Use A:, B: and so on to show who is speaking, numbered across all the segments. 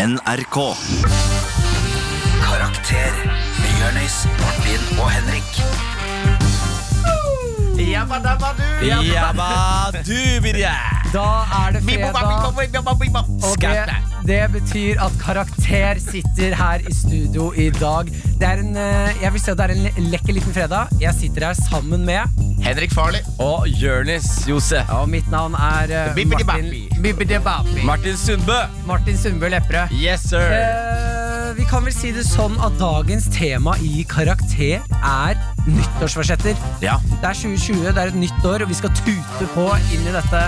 A: NRK. Karakter med Jørnis, Martin og Henrik.
B: Jabba dubidia!
C: Da er det fredag, og det, det betyr at Karakter sitter her i studio i dag. Det er en, eh, jeg vil si at det er en le- lekker liten fredag. Jeg sitter her sammen med
D: Henrik Farley.
B: Og Jonis Josef.
C: Og mitt navn er eh,
D: Bibbidi
C: Martin,
D: babbi.
C: Bibbidi babbi.
B: Martin Sundbø.
C: Martin Sundbø Lepperød.
B: Yes, sir.
C: Eh, vi kan vel si det sånn at dagens tema i Karakter er nyttårsforsetter.
B: Ja.
C: Det er 2020, det er et nytt år, og vi skal tute på inn i dette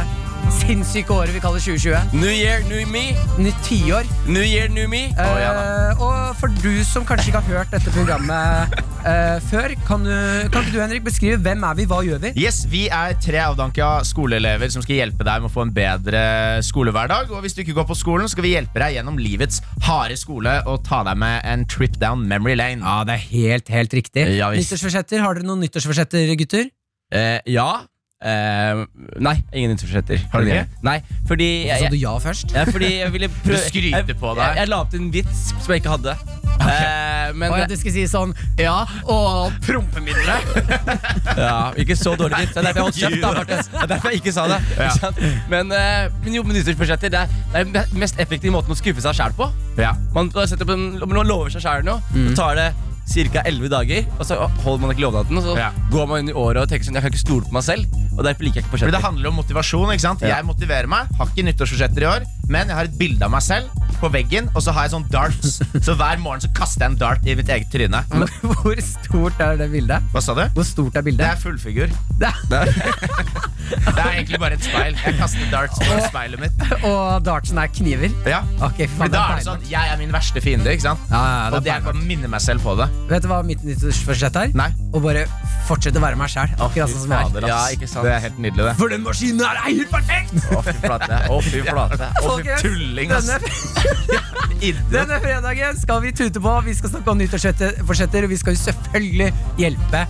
C: sinnssyke året vi kaller 2020.
B: New year, new me.
C: Nytt tiår.
B: New year, new me.
C: Eh, og for du som kanskje ikke har hørt dette programmet eh, før, kan, du, kan ikke du Henrik beskrive hvem er vi, hva gjør vi?
D: Yes, Vi er tre avdanka skoleelever som skal hjelpe deg med å få en bedre skolehverdag. Og hvis du ikke går på skolen, skal vi hjelpe deg gjennom livets harde skole og ta deg med en trip down memory lane.
C: Ja, det er helt, helt riktig.
B: Ja, visst.
C: nyttårsforsetter, Har dere noen nyttårsforsetter, gutter?
B: Eh, ja. Eh, nei, ingen nyttårsforsetter.
D: Har du ikke?
B: Nei, fordi jeg,
C: Sa
B: jeg,
C: Altså, du ja først?
B: ja, fordi jeg ville prøve
D: Du skryter
B: jeg-
D: på deg.
B: Jeg, jeg la opp til en vits som jeg ikke hadde. Eh, men
C: Å ja, du skulle si sånn ja, og prompemidler.
B: Ja, ikke så dårlig vits. Det er derfor jeg holdt kjeft. da, Martin. Det er derfor jeg ikke sa det.
D: Ja.
B: Ikke sant? Men, eh, men jo, men nyttårsforsetter det er det er den mest effektive måten å skuffe seg sjæl på.
D: Ja.
B: Man, setter på en, om man lover seg sjæl noe,
D: Mm.
B: så tar det ca. 11 dager. Og så holder man ikke lovnaden, og så
D: Ja.
B: går man inn i året og tenker sånn Jeg kan ikke stole på meg selv, og derfor liker jeg ikke
D: Men det
B: forsetter.
D: handler om motivasjon. ikke sant?
B: Ja.
D: Jeg motiverer meg. Har ikke nyttårsforsetter i år, men jeg har et bilde av meg selv på veggen, og så har jeg sånn darts. Så hver morgen så kaster jeg en dart i mitt eget tryne.
C: Hvor stort er det bildet?
D: Hva sa du?
C: Hvor stort er
D: Det
C: bildet?
D: er fullfigur.
C: Det er,
D: Det er egentlig bare et speil. Jeg kaster darts på speilet mitt.
C: og dartsen er kniver?
D: Ja.
C: Ok, fy
D: For
C: faen,
D: da er det
C: beinhardt.
D: sånn Jeg er min verste fiende, ikke sant?
C: Ja, ja, det
D: Og
C: er
D: det jeg
C: beinhardt.
D: bare minner meg selv på det.
C: Vet du hva mitt nyttårsforsett er?
D: Nei.
C: Å bare fortsette å være meg sjæl. Akkurat sånn som jeg er.
D: Fader, ass.
B: Ja, ikke sant?
D: Det er helt nydelig, det.
C: For den maskinen her er helt perfekt!
D: Å, fy flate. Å, fy flate. Å, fy
C: Folkens,
D: tulling, ass.
C: Denne, denne fredagen skal vi tute på. Vi skal snakke om nyttårsforsetter, og vi skal jo selvfølgelig hjelpe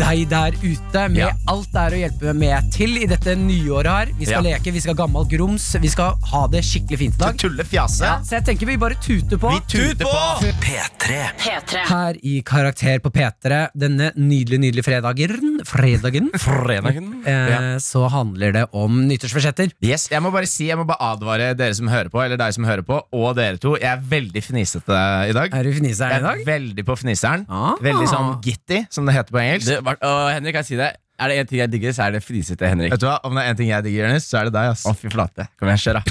C: deg der ute med
D: Ja.
C: alt det er å hjelpe med til i dette nyåret her. Vi skal
D: Ja.
C: leke, vi skal ha gammel grums, vi skal ha det skikkelig fint i
D: Du
C: dag.
D: tuller fjase.
C: Ja, så jeg tenker vi bare tuter på.
D: Vi tuter på.
A: P3.
E: P3.
C: her i Karakter på P3 denne nydelige, nydelige fredagen, fredagen
B: Fredagen.
C: eh, så handler det om nyttårsforsetter.
D: Yes, jeg må bare si, jeg må bare advare dere som hører på, eller deg som hører på, og dere to. Jeg er veldig fnisete i dag.
C: Er du fniseren i
D: Jeg
C: dag?
D: er veldig på fniseren.
C: Ah.
D: Veldig sånn gitty, som det heter på engelsk.
B: Det, var- å, Henrik, kan jeg si deg? Er det én ting jeg digger, så er det fnisete Henrik.
D: Vet du hva, Om det er én ting jeg digger, Jonis, så er det deg. ass
B: Å, fy flate. Kom igjen, kjør, da.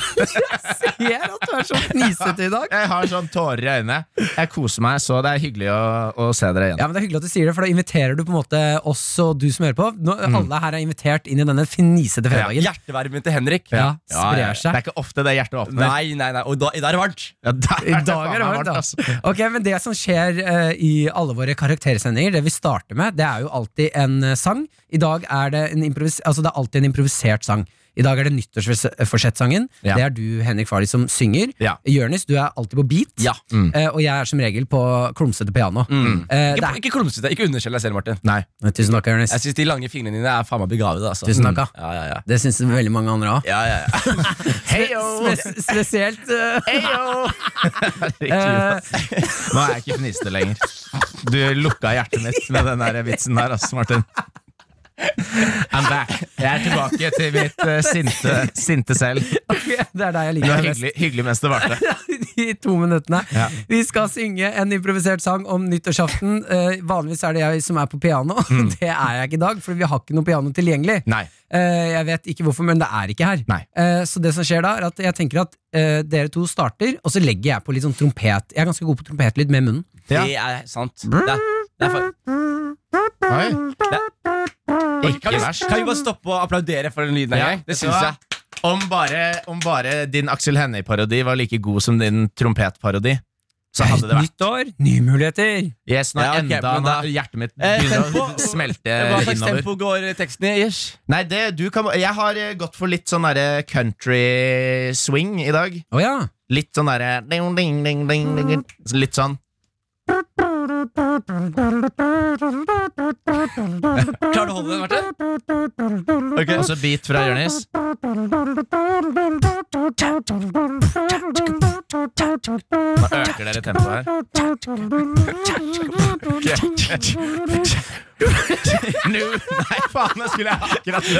C: Jeg er at du er så fnisete i dag.
D: Jeg har sånn tårer i øynene. Jeg koser meg, så det er hyggelig å, å se dere igjen.
C: Ja, men Det er hyggelig at du sier det, for da inviterer du på en måte oss og du som hører på. Nå, Alle her er invitert inn i denne finisete fredagen. Ja,
B: Hjertevarmen til Henrik.
C: sprer
D: Det
C: seg.
D: er ikke ofte det hjertet åpner.
B: Nei, nei, nei. Og da, i dag er det varmt.
D: Ja, der
C: I dag er det varmt, altså. Ok, men det som skjer eh, i alle våre karaktersendinger, det vi starter med, det er jo alltid en eh, sang. I dag er det en improvis altså det er alltid en improvisert sang. I dag er det nyttårsforsett-sangen.
D: Ja.
C: Det er du, Henrik Farley, som synger.
D: Ja.
C: Jørnis, du er alltid på beat.
B: Ja.
C: Eh, og jeg er som regel på klumsete piano. Eh, det
B: Ikke,
C: er,
B: ikke klumsete. Ikke underskjell deg selv, Martin.
D: Nei.
C: tusen takk, Jørnis.
B: Jeg syns de lange fingrene dine er faen meg begavede. Altså.
C: Tusen takk, da.
B: Ja, ja, ja.
C: Det syns veldig mange andre òg.
B: Ja, ja, ja.
C: Spes spesielt eh,
D: Herregud, ass. Nå er jeg ikke fniste lenger. Du lukka hjertet mitt med den der vitsen der, ass, Martin. I'm back. Jeg er tilbake til mitt eh, sinte, sinte selv. Det
C: Ok, Det er deg
D: var
C: jeg liker best.
D: hyggelig, hyggelig mens det varte.
C: De to minuttene.
D: Ja.
C: Vi skal synge en improvisert sang om nyttårsaften. Eh, vanligvis er det jeg som er på piano. Det er jeg ikke i dag, for vi har ikke noe piano tilgjengelig.
D: Mm. Nei.
C: Eh, jeg vet ikke hvorfor, men det er ikke her.
D: Nei.
C: Eh, så det som skjer da, er at jeg tenker at eh, dere to starter, og så legger jeg på litt sånn trompet. Jeg er ganske god på trompetlyd med munnen.
D: Ja. Mm.
B: Det er sant. Det er, det er for...
D: Oi.
B: kan,
D: Ikke
B: vi,
D: verst.
B: kan vi bare stoppe og applaudere for den lyden en
D: Ja,
B: gang? Det
D: vet du
B: syns
D: hva?
B: jeg.
D: Om bare, om bare din Aksel Hennie-parodi var like god som din trompetparodi, så hadde det vært
C: Nytt år, nye muligheter!
D: Yes, nå
B: Ja, ok,
D: enda
B: men da-
D: nå- hjertet mitt
B: Eh,
D: begynner
B: tempo-
D: å smelte
B: Hva slags
D: Eh, innover.
B: tempo går teksten i? Ish?
D: Nei, det, du kan, jeg har eh, gått for litt sånn derre country swing i dag.
C: Å ja.
D: Litt sånn derre ding, ding, ding, ding, ding, ding. Litt sånn.
B: Klarer du å holde den, Marte?
D: Okay. Og så beat fra Jonis. Nå øker dere tempoet her. Nå, nei, faen, jeg skulle akkurat det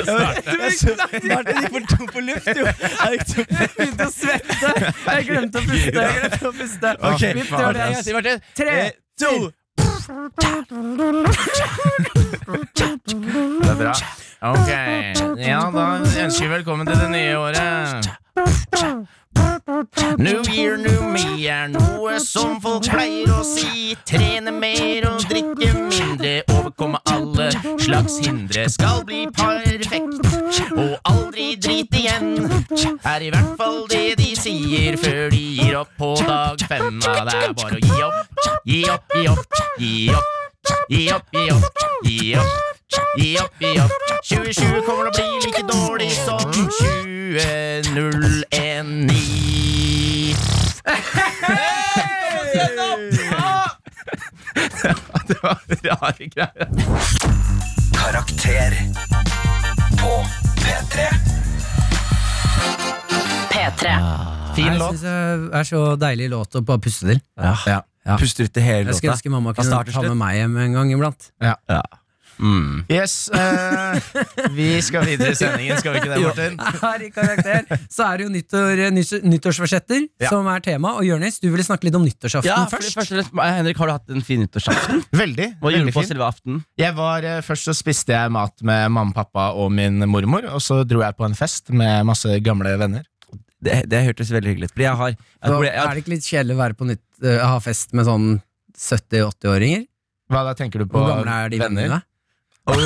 D: starte.
B: Marte gikk for tom for luft, jo. Jeg gikk tom for-
C: Jeg begynte å svette! Jeg glemte å puste. Jeg glemte å puste
B: Ok,
C: Vi
B: vi
C: prøver
B: gjør
C: det
B: det
C: en
B: en gang
C: gang
B: til, Marte.
C: Tre,
B: Eh, to.
D: Det er bra. Ok, ja da ønsker vi velkommen til det nye året. New year, new me er noe som folk pleier å si. Trene mer og drikke mindre, overkomme alle slags hindre. Skal bli perfekt og aldri drite igjen. Er i hvert fall det de sier før de gir opp på dag fem. Ja, det er bare å gi opp, gi opp, gi opp, gi opp. Gi opp, gi opp, gi opp. Gi opp, gi opp. 2020 kommer til å bli like dårlig som 20019. Det var rare greier.
A: Karakter på P3.
E: P3.
D: Fin
C: Jeg
D: låt.
C: syns det er så deilig låt å bare puste til. Ja. Ja.
B: Puster ut i hele
C: Jeg skulle ønske mamma kunne
B: starter
C: ta
B: slutt.
C: med meg hjem en gang iblant.
D: Yes. eh, vi skal videre i sendingen, skal vi ikke det, Martin?
C: Her i karakter så er det jo nyttår, nys- nyttårsforsetter som er tema. Og Jonis, du ville snakke litt om nyttårsaften
B: Ja, fordi
C: først.
B: først og fremst, eh, Henrik, har du hatt en fin nyttårsaften?
D: Veldig.
B: Hva gjorde
D: veldig
B: du på
D: fin.
B: selve aften?
D: Jeg var, eh, Først så spiste jeg mat med mamma, pappa og min mormor, og så dro jeg på en fest med masse gamle venner.
B: Det, det hørtes veldig hyggelig ut. Fordi jeg har jeg,
C: Da
B: tror jeg,
C: er det ikke litt kjedelig å være på nytt, eh, ha fest med sånn 70-80-åringer?
D: Hva da tenker du på?
C: Hvor gamle er de vennene?
D: Det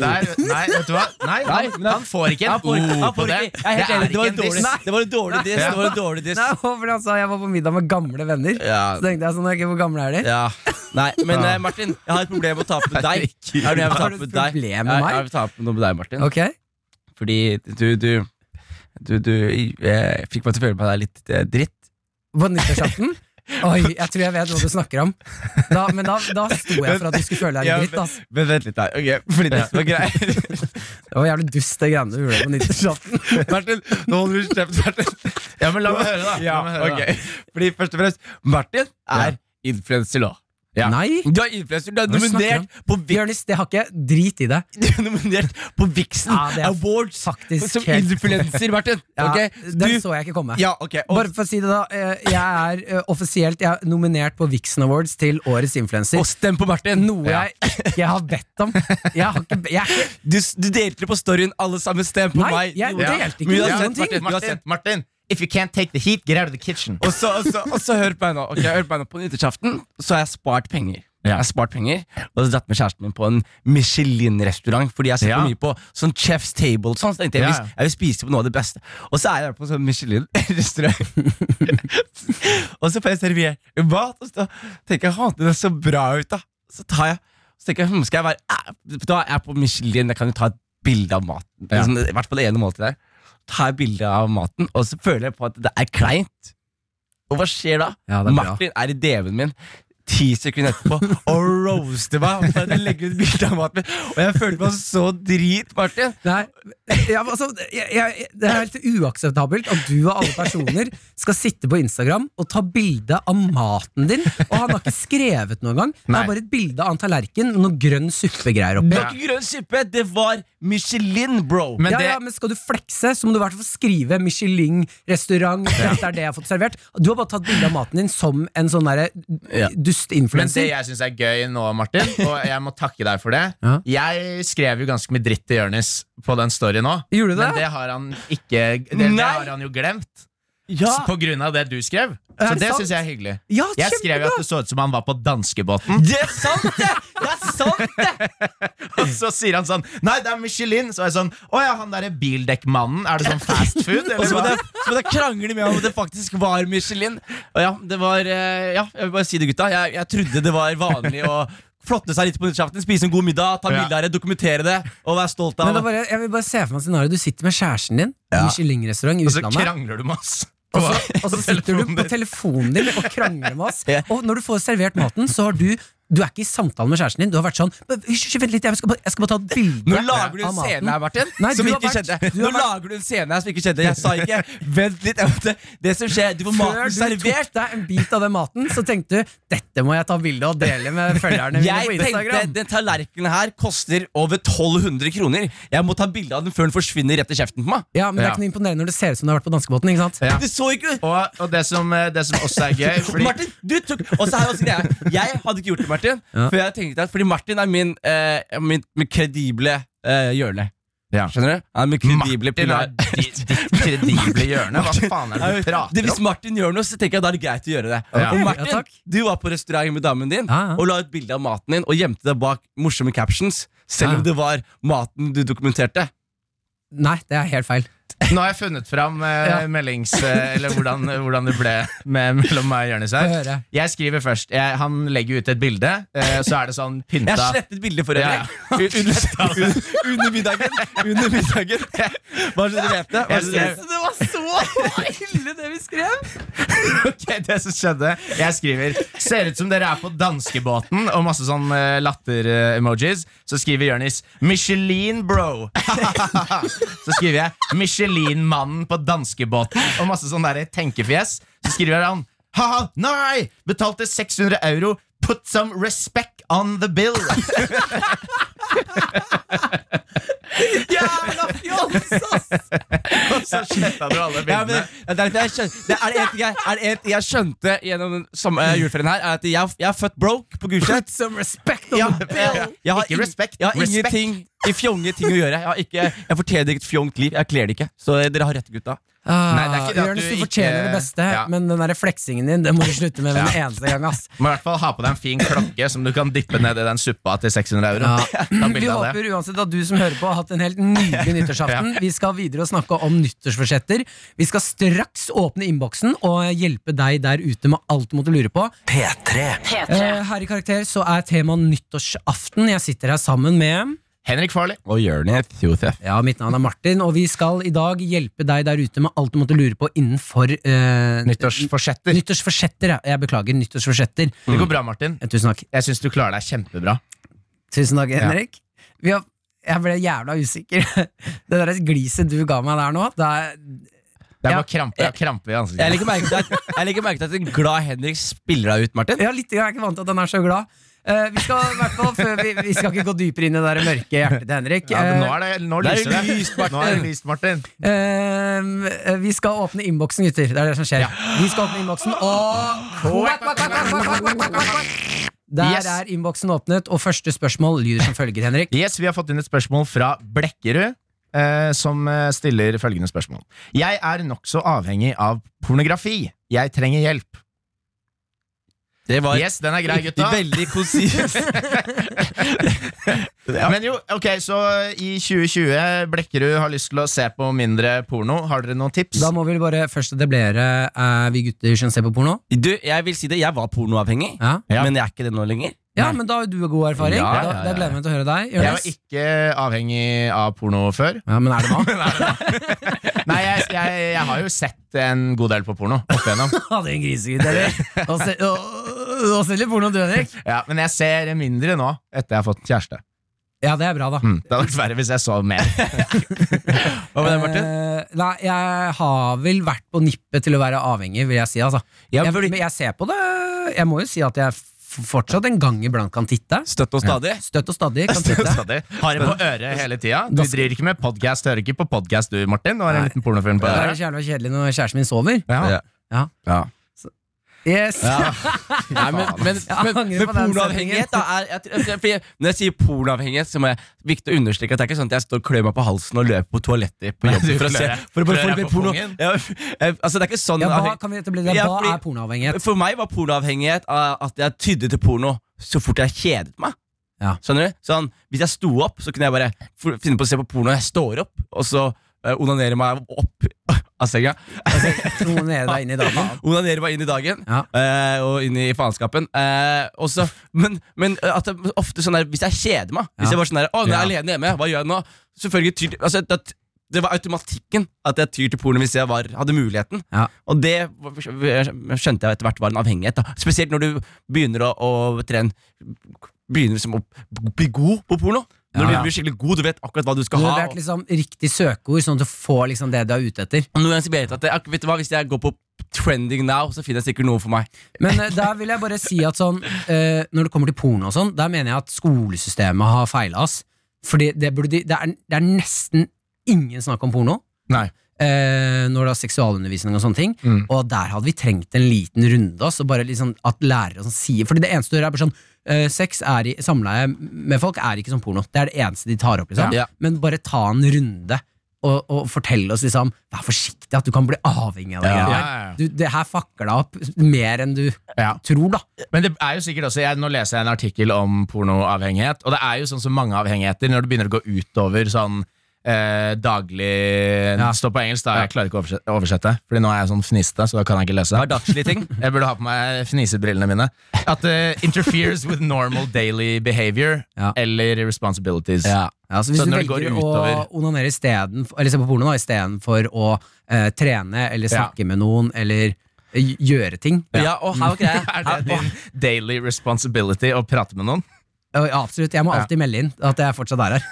D: der, nei, vet du hva? Nei, han, han får ikke
B: Han
D: en
B: får ikke-
D: O på
B: han får
D: det.
B: ikke- Jeg er helt enig, det var en
D: diss.
B: dårlig Det var en dårlig diss. Det var en dårlig diss.
C: Nei, for han sa jeg var på middag med gamle venner.
B: Ja,
C: Så tenkte jeg sånn, ok, hvor gamle er de?
B: ja. Nei, men
D: Ja.
B: eh, Martin, jeg har et problem med å ta opp med deg. Jeg har noe jeg vil ta
C: Har
B: opp
C: du
B: med
C: et
B: deg.
C: problem med
B: Jeg-
C: meg?
B: Jeg vil ta opp noe med deg, Martin.
C: Ok,
B: Fordi du, du, du, du eh, fikk meg til å føle meg der litt eh, dritt.
C: På nyttårsaften? Oi, jeg tror jeg vet hva du snakker om. Da, men da, da sto jeg for at du skulle føle deg
B: Ja,
C: litt dritt. ass.
B: Men vent litt her. Ok, fordi det var greit.
C: Det var jævlig dust, det greiene du gjorde på nyttårsaften.
B: Martin, nå holder du kjeft, Martin.
D: Ja, men la meg høre, da.
B: Ja,
D: La meg høre, da.
B: ok. Fordi først og fremst, Martin er influenser nå. Ja.
C: Nei,
B: Du er influenser, du er
C: Hva snakker du om?
B: nominert på, Vi-
C: Jonis, det har ikke drit i det.
B: du er nominert på Vixen
C: Ja, det er
B: Awards
C: faktisk
B: som
C: helt-
B: influenser, Martin.
C: Ja,
B: Ok?
C: Den
B: Du-
C: så jeg ikke komme.
B: Ja, ok. Og
C: Bare for å si det da, eh, jeg er eh, offisielt jeg er nominert på Vixen Awards til Årets influenser.
B: Og stem på Martin!
C: Noe jeg ikke har bedt om. Jeg har ikke, be- jeg, er ikke-
B: Du, du delte det på storyen, alle sammen stem på
C: Nei,
B: meg!
C: jeg
B: Jo, ja.
C: delte ikke
B: Men
C: noen
B: uansett,
C: ting.
B: Martin,
D: Martin,
B: uansett.
D: Martin, if you can't take the heat, get out of the kitchen.
B: Og så, og, så, og så hør på meg nå. Ok, hør på meg nå På nyttårsaften så har jeg spart penger. Jeg har spart penger Og så dratt med kjæresten min på en Michelin-restaurant. Fordi jeg ser
D: Ja.
B: på mye på sånn Chef's Table. og Sånn, så tenkte jeg,
D: Ja,
B: hvis-
D: ja.
B: jeg vil spise på noe av det beste. Og så er jeg på sånn Michelin-restaurant. og så får jeg servert mat, og så tenker jeg at det ser så bra ut. da Så tar jeg Så tenker jeg, hm, skal jeg være eh, Da er jeg på Michelin, jeg kan jo ta et bilde av maten.
D: Ja.
B: Liksom, I hvert fall det ene måltidet der. Tar jeg bilde av maten, og så føler jeg på at det er kleint. Og hva skjer da?
C: Ja, det er bra.
B: Martin er i DV-en min. Ti sekunder etterpå og roaster meg for at jeg legger ut bilde av maten min. Og jeg følte meg så drit, Martin.
C: Nei, ja, men altså, jeg, jeg, det er helt uakseptabelt at du og alle personer skal sitte på Instagram og ta bilde av maten din. Og han har ikke skrevet noe engang. Det
D: Nei.
C: er bare et bilde av en tallerken med noe grønn suppegreier
B: Det
C: oppi.
B: var ikke grønn suppe, det var Michelin, bro.
D: Men
C: ja,
D: det,
C: ja, men Skal du flekse, så må du i hvert fall skrive Michelin-restaurant. Dette er det jeg har fått servert Du har bare tatt bilde av maten din som en sånn derre
B: Ja.
D: men det
C: dust-influenser.
D: jeg syns er gøy nå, Martin, og jeg må takke deg for det
C: Ja.
D: Jeg skrev jo ganske mye dritt til Jonis på den storyen nå,
C: Gjorde du det?
D: men det har han ikke Det, det
B: Nei!
D: har han jo glemt.
B: ja.
D: På grunn av det du skrev.
C: Ah. Er
D: Så
C: det
D: det
C: sant?
D: syns jeg er hyggelig.
C: Ja,
D: Jeg skrev jo
C: kjempebra!
D: at det så ut som han var på danskebåten.
B: Det er sant, det! Det er sant, det!
D: Og så sier han sånn Nei, det er Michelin. Så er jeg sånn Å ja, han derre bildekkmannen. Er det sånn fast food?
B: Og
D: Eller
B: så måtte
D: hva?
B: jeg, så måtte jeg krangle med ham om det faktisk var Michelin. Og ja, det var eh, Ja, jeg vil bare si det, gutta. Jeg, jeg trodde det var vanlig å flotte seg litt på nyttårsaften, spise en god middag, ta
D: Ja.
B: bilde av det, dokumentere det og være stolt
C: Men
B: av
C: det er bare, jeg vil bare se for meg scenarioet. Du sitter med kjæresten din.
B: Ja.
C: Michelin-restaurant i
D: Og så
C: utlandet.
D: krangler du med oss.
C: Og så, og så sitter du på telefonen din og krangler med oss.
B: Ja.
C: Og når du får servert maten, så har du du er ikke i samtale med kjæresten din. Du har vært sånn "Hysj, hysj, Vent litt, jeg skal bare, jeg skal bare ta et bilde
B: Nå lager du
C: av
B: en
C: maten."
B: scene her, Martin,
C: Nei,
B: som
C: du har
B: ikke
C: vært-
B: skjedde.
C: du har
B: Nå
C: vært-
B: lager du en scene her som ikke skjedde. Jeg sa ikke 'vent litt'. Jeg måtte, det som skjer, du får
C: Før
B: maten
C: du tok
B: servert.
C: deg en bit av den maten, så tenkte du dette må jeg ta bilde og dele med følgerne mine på
B: Jeg tenkte
C: Instagram.
B: Den tallerkenen her koster over 1200 kroner. Jeg må ta bilde av den før den forsvinner rett i kjeften på meg.
C: Ja, Men det er
D: Ja.
C: ikke noe imponerende når det ser ut som du har vært på danskebåten. ikke sant?
D: Ja.
B: Det så ikke ut!
D: Og, og det, som, eh, det som også er gøy fordi,
B: Martin, du tok Og så er jo også greia. Jeg hadde ikke gjort det, Martin.
C: Ja.
B: For jeg tenkte at, Fordi Martin er min, eh, min, min kredible eh, hjørne.
D: Ja.
B: Skjønner du? Han er min kredible
D: Martin er
B: pilar.
D: ditt ditt kredible hjørne. Hva faen er det du
B: Det,
D: prater
B: hvis
D: om?
B: Martin gjør noe, så tenker jeg da er det greit å gjøre det.
D: Ja.
B: Og
C: Ja,
B: Martin,
C: takk.
B: du var på restaurant med damen din
C: Ja, ja.
B: og la ut bilde av maten din og gjemte deg bak morsomme captions. Selv
C: Ja.
B: om det var maten du dokumenterte.
C: Nei, det er helt feil.
D: Nå har jeg funnet fram eh,
C: Ja.
D: meldings... Eh, eller hvordan, hvordan det ble med, mellom meg og Jonis
C: Få
D: her.
C: høre.
D: Jeg skriver først. Jeg, han legger ut et bilde, eh, så er det sånn
B: Jeg
D: pynta
B: har slettet bildet for
D: Ja,
B: øvrig. Under, under, under middagen. Under middagen. Bare så dere vet det. Bare så dere vet det.
C: det var så ille, det vi skrev!
D: Ok, det som skjedde Jeg skriver Ser ut som dere er på danskebåten Og masse sånn eh, latter-emojis Så skriver Jørnis Michelin, bro Så skriver jeg Michelin-mannen på danskebåten Og masse sånn der tenkefjes Så skriver jeg han Haha, nei! Betalte 600 euro Put some respect on the bill
C: Jævla fjols, ass!
D: Og så sletta du alle
B: Ja, men,
D: bildene
B: ja, det er det jeg skjønte, det er det en ting jeg, er det en ting jeg skjønte gjennom den samme eh, juleferien her, er at jeg, jeg er født broke på Gulset.
C: Put some respect on
B: Ja,
C: the
B: jeg,
C: bill!
B: jeg har,
D: Ikke
B: ing-
D: respekt,
B: Jeg har
D: respekt.
B: ingenting i fjonge ting å gjøre. Jeg, har ikke, jeg fortjener ikke et fjongt liv. Jeg kler det ikke. Så dere har rett, gutta.
C: Ah,
D: Nei, det er ikke det at
C: Jonis,
D: du
C: du
D: ikke-
C: fortjener det beste,
D: Ja.
C: men den der fleksingen din Det må du slutte med med den
D: Ja.
C: eneste gang. ass
D: Må i hvert fall ha på deg en fin klokke Som du kan dippe ned i den suppa til 600 euro Ta
C: Vi
D: bilde av det
C: håper uansett at du som hører på, har hatt en helt nydelig nyttårsaften. Vi skal videre og snakke om nyttårsforsetter. Vi skal straks åpne innboksen og hjelpe deg der ute med alt du måtte lure på.
A: P3
C: Eh, her i Karakter så er temaet nyttårsaften. Jeg sitter her sammen med
D: Henrik Farley
B: Og Jonis Josef.
C: Ja, mitt navn er Martin, og vi skal i dag hjelpe deg der ute med alt du måtte lure på innenfor eh,
D: Nyttårsforsetter
C: Nyttårsforsetter, ja. Jeg beklager. Nyttårsforsetter.
D: Det går bra, Martin
C: Eh, Tusen takk.
D: Jeg syns du klarer deg kjempebra.
C: Tusen takk, Henrik. Vi har, jeg ble jævla usikker. Det der gliset du ga meg der nå, det er
D: Det er
C: Ja.
D: bare krampe, jeg har krampe i
B: Jeg
D: ansiktet.
B: legger merke til at, jeg legger merke til at en glad Henrik spiller deg ut, Martin.
C: Ja, litt, jeg er ikke vant til at den er så glad. Eh, vi, skal, i hvert fall, før vi, vi skal ikke gå dypere inn i det der mørke hjertet til Henrik.
D: Ja, men nå er det, nå
B: Det er
D: lyser det.
B: lyst, Martin.
D: Nå er det lyst, Martin.
C: Eh, eh, vi skal åpne innboksen, gutter. Det er det som skjer. Vi skal åpne innboksen, og
D: Quack, quack, quack, quack, quack, quack, quack, quack.
C: Der
D: Yes.
C: er innboksen åpnet, og første spørsmål lyder som følger, Henrik.
D: Yes, Vi har fått inn et spørsmål fra Blekkerud, eh, som eh, stiller følgende spørsmål. Jeg er nokså avhengig av pornografi. Jeg trenger hjelp.
B: Det var
D: Yes, den er grei, gutta.
B: veldig konsis.
D: Men jo, ok, så eh, i 2020 Blekkerud har lyst til å se på mindre porno. Har dere noen tips?
C: Da må vi bare først etablere Er vi gutter som ser på porno.
B: Du, jeg vil si det, jeg var pornoavhengig,
C: Ja,
D: Ja.
B: men jeg er ikke det nå lenger.
C: ja men da har jo du god erfaring.
B: Ja, ja,
C: Da,
B: ja,
C: da
B: ja.
C: gleder jeg meg til å høre deg.
D: Jeg
C: Jonas.
D: var ikke avhengig av porno før.
C: Ja, men er det nå?
D: Nei, jeg, jeg, jeg har jo sett en god del på porno opp igjennom.
C: Hadde en grisegutt, eller? Nå se- Nå nå selger porno du, Henrik.
D: Ja, men jeg ser mindre nå etter jeg har fått kjæreste.
C: Ja, det er bra, da.
D: Mm. Det hadde vært verre hvis jeg så mer.
B: Hva med deg, Martin?
C: Eh, nei, jeg har vel vært på nippet til å være avhengig, vil jeg si. Altså.
B: Ja,
C: jeg,
B: fordi-
C: men jeg ser på det. Jeg må jo si at jeg f- fortsatt en gang iblant kan titte.
B: Støtt og stadig.
C: Støtt og stadig kan titte.
D: Stadig. Har det på øret hele tida. Du driver ikke med podcast, hører ikke på podcast du, Martin. Du har en
C: Nei.
D: liten pornofilm på
C: Det er
D: øret.
C: så jævla kjedelig når kjæresten min sover.
D: Ja.
C: Ja.
D: Ja.
C: Yes.
B: Ja. Nei, men, men,
C: Jeg angrer
B: men, men
C: på den
B: pornoavhengighet da er, jeg, tror- jeg, for jeg, Når jeg sier pornoavhengighet, så må jeg viktig å understreke at det er ikke sånn at jeg står og klør meg på halsen og løper på toalettet på
D: Nei,
B: jobb
D: du
B: for å se
D: klør deg-
B: for å
D: klør
B: bare få
D: deg
B: litt
D: på
B: porno.
D: pungen.
B: Ja, eh, altså, det er ikke sånn
C: Ja, hva
B: avheng-
C: kan vi etablere?
B: Ja,
C: Hva
B: fordi-
C: er pornoavhengighet?
B: For meg var pornoavhengighet av at jeg tydde til porno så fort jeg kjedet meg.
C: Ja.
B: Skjønner du? Sånn, hvis jeg sto opp, så kunne jeg bare f- finne på å se på porno. Jeg står opp, og så eh, onanerer meg opp av senga.
C: Noen er deg inn i dama.
B: Onanere meg inn i dagen
C: Ja.
B: eh, og inn i faenskapen. Eh, og så- men men at det, ofte sånn der, hvis jeg kjeder meg Hvis
C: Ja.
B: jeg bare sånn der, å, nå er jeg
D: Ja.
B: alene hjemme, hva gjør jeg nå? Selvfølgelig tyr, altså, Da t- det var automatikken at jeg tyr til porno hvis jeg var, hadde muligheten.
C: Ja.
B: Og det var- skjønte jeg etter hvert var en avhengighet. Da. Spesielt når du begynner å, å trene Begynner liksom å bli god på porno. Når
C: Ja.
B: du blir skikkelig god, du vet akkurat hva du skal
C: Du har
B: ha.
C: vært liksom riktig søkeord, sånn at du får liksom det du er ute etter.
B: Og noen ganger så blir jeg irritert at jeg, vet du hva, Hvis jeg går på trending now, så finner jeg sikkert noe for meg.
C: Men eh, der vil jeg bare si at sånn eh, Når det kommer til porno og sånn, der mener jeg at skolesystemet har feila oss. Fordi det, burde, de- det, er, det er nesten ingen snakk om porno.
D: Nei.
C: eh, når det er seksualundervisning og sånne ting.
D: Mm.
C: Og der hadde vi trengt en liten runde. Også, bare liksom at lærere og sånn sier Fordi det eneste du hører, er bare sånn eh, Sex er i samleie med folk er ikke som porno. Det er det eneste de tar opp. liksom
B: Ja.
C: Men bare ta en runde og, og fortell oss liksom Vær forsiktig, at du kan bli avhengig av det.
D: Ja, ja,
C: greiene her.
D: ja.
C: Du, det her fucker deg opp mer enn du
D: Ja.
C: tror, da.
D: Men det er jo sikkert også, jeg, nå leser jeg en artikkel om pornoavhengighet, og det er jo sånn som mange avhengigheter, når det begynner å gå utover sånn eh, daglig
C: Ja.
D: Det står på engelsk, da. Jeg klarer ikke å oversette, oversette, fordi nå er jeg sånn fniste, så da kan jeg ikke lese.
B: Sliting.
D: Jeg burde ha på meg fnisebrillene mine. At det interferes with normal daily behavior
C: Ja.
D: eller responsibilities.
C: Ja, så hvis
D: Så
C: du
D: når det går
C: velger
D: utover-
C: å onanere i stedet, for- eller se på porno da, istedenfor å eh, trene
D: Ja.
C: eller snakke med noen eller eh, gjøre ting
B: Ja, og her var greia.
D: Er det
B: Her-
D: din daily responsibility å prate med noen?
C: Ja, Absolutt. Jeg må alltid melde inn at jeg fortsatt er her.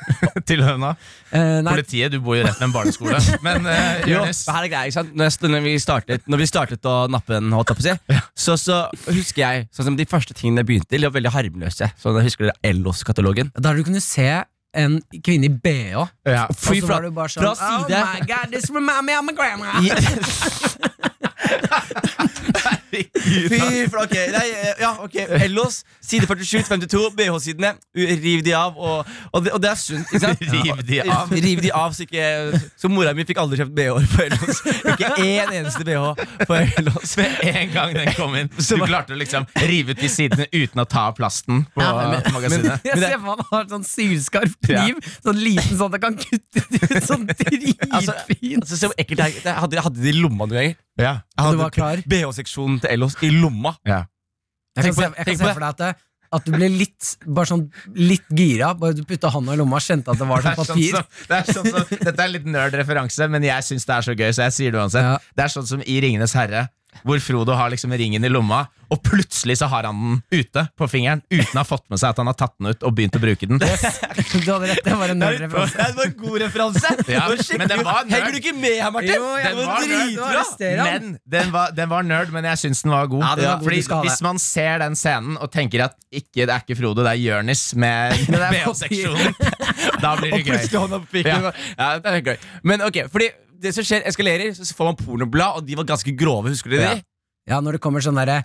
D: Til høna?
C: Eh, nei,
D: Politiet, du bor jo rett ved en barneskole. Men eh,
B: Jo,
D: Jonis,
B: det her er greia, ikke sant? Når, jeg, når, vi startet, når vi startet å nappe en holdt jeg på å si, så, så husker jeg sånn som de første tingene jeg begynte til, de var veldig harmløse. Så jeg husker dere Ellos-katalogen?
C: Da har du kunnet se en kvinne i BH, og
D: ja.
B: Fy
C: så
B: fra-
C: var du bare sånn
B: fra
C: Oh
B: side."
C: my god, this reminds me of my grandma!
B: Fy flate. Okay. Nei, eh, Ja, ok. Ellos, side 47, 52, BH-sidene. U- Riv de av. Og, og, det, og det er sunt. Ikke sant?
D: Riv de av.
B: Riv de av, så ikke Så mora mi fikk aldri kjøpt BH-er på Ellos. Ikke én eneste BH på Ellos.
D: Med en gang den kom inn,
B: Så
D: du
B: var-
D: klarte å liksom rive ut de sidene uten å ta av plasten på magasinet.
C: Jeg ser for meg han har en sånn sylskarp kniv, sånn liten sånn at han kan kutte det ut sånn
B: Altså,
C: dritfint.
B: altså, så ekkelt det er. Jeg hadde, jeg hadde det i lomma noen ganger.
D: ja.
B: Jeg
C: Du var klar?
B: hadde BH-seksjonen til Ellos i lomma.
D: Ja.
C: Jeg kan
B: tenk på
C: se,
B: det,
C: jeg
B: tenk
C: kan
B: på
C: se
B: det.
C: for deg at, det, at du ble litt, bare sånn, litt gira. Bare du putta hånda i lomma og kjente at det var
D: Det
C: sånn
D: er sånn
C: papir.
D: som, det er sånn som, dette er en litt nerd referanse, men jeg syns det er så gøy, så jeg sier det uansett.
C: Ja.
D: Det er sånn som i Ringenes herre, hvor Frodo har liksom ringen i lomma, og plutselig så har han den ute på fingeren, uten å ha fått med seg at han har tatt den ut og begynt å bruke den.
C: Du hadde rett, det var en nerd referanse.
B: Det var en god referanse.
D: Ja,
B: Det var skikkelig-
D: men den var nerd.
B: Henger du ikke med her, Martin?
C: Jo, jeg
B: den var,
C: var nerd. Det var
B: dritbra.
C: arrest-
D: Men den var, den var nerd, men jeg syns den var god.
C: Ja, den var god,
D: Fordi
C: du skal ha det.
D: Hvis man ser den scenen og tenker at ikke, det er ikke Frode, det er Jørnis med
C: er
D: BH-seksjonen, da blir det
B: Og
D: gøy.
B: plutselig hånda på pikken. Ja. det er gøy. Men ok, fordi det som skjer, eskalerer, så får man pornoblad, og de var ganske grove, husker du det?
D: Ja.
C: Ja, når det kommer sånn derre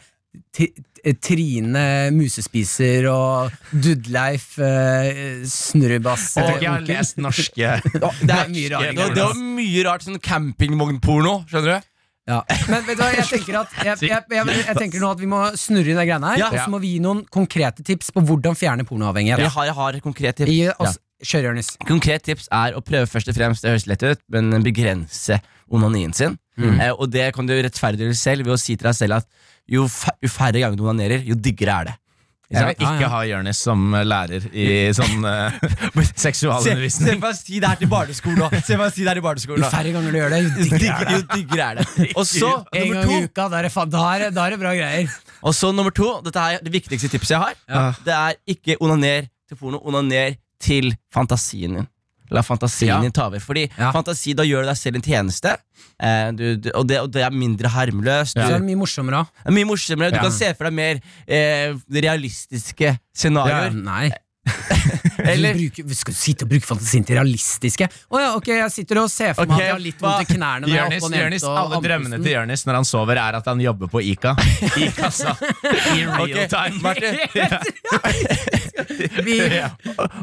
C: Ti- eh, Trine Musespiser og Dudleif eh, Snurrebass
D: Jeg tror ikke jeg har
C: onkel.
D: lest norske
C: Det altså. er mye
B: Det,
C: rare greier.
B: var- det var mye rart sånn campingvognporno, skjønner du?
C: Ja. Men vet du hva, jeg tenker at Jeg, jeg, jeg, jeg, tenker nå at vi må snurre i de greiene her,
B: Ja.
C: og så må vi gi noen konkrete tips på hvordan fjerne
B: Jeg
C: pornoavhengighet.
B: har, jeg har et konkret tips.
C: Gi oss- Kjør, Jonis.
B: Konkret tips er å prøve først og fremst, det høres lett ut, men begrense onanien sin.
C: Mm.
B: Eh, og det kan du rettferdiggjøre selv ved å si til deg selv at jo, fa- jo færre ganger du onanerer, jo diggere er det.
D: Jeg vil
C: Ja, ja.
D: ikke ha Jørnis som eh, lærer i sånn eh,
B: Se, se
D: seksualundervisning.
B: meg si det her til barneskolen nå. Se meg si det her til barneskolen
C: Jo
B: nå.
C: færre ganger du gjør det, jo
B: Jo
C: diggere
B: diggere,
C: er det.
B: jo diggere er det. Og så,
C: En
B: nummer
C: gang i
B: to,
C: uka, da er det, fa- da er det, da er det bra greier.
B: og så nummer to Dette er det viktigste tipset jeg har. Det er ikke onaner til porno. Onaner til fantasien din. La fantasien
D: Ja.
B: din ta over. Fordi
C: Ja.
B: fantasi, da gjør du deg selv en tjeneste. Eh, du, du, og, det, og det er mindre harmløst.
C: Så er
B: Du,
C: det mye morsommere òg.
B: det er mye morsommere. Du
D: Ja.
B: kan se for deg mer eh, realistiske scenarioer.
C: Nei.
B: Eller-
C: Du bruker, skal du sitte og bruke fantasien til realistiske? Å ja, ok, jeg sitter og ser for meg
B: Ok,
C: at jeg har litt
B: hva-
C: vondt i knærne. når jeg er
D: Jørnis,
C: oppe og
D: Jørnis,
C: nevnte og
D: alle drømmene
C: andpusten.
D: til Jørnis når han sover, er at han jobber på Ica. I kassa. I real
B: Ok,
D: time.
B: Martin.
C: Vi-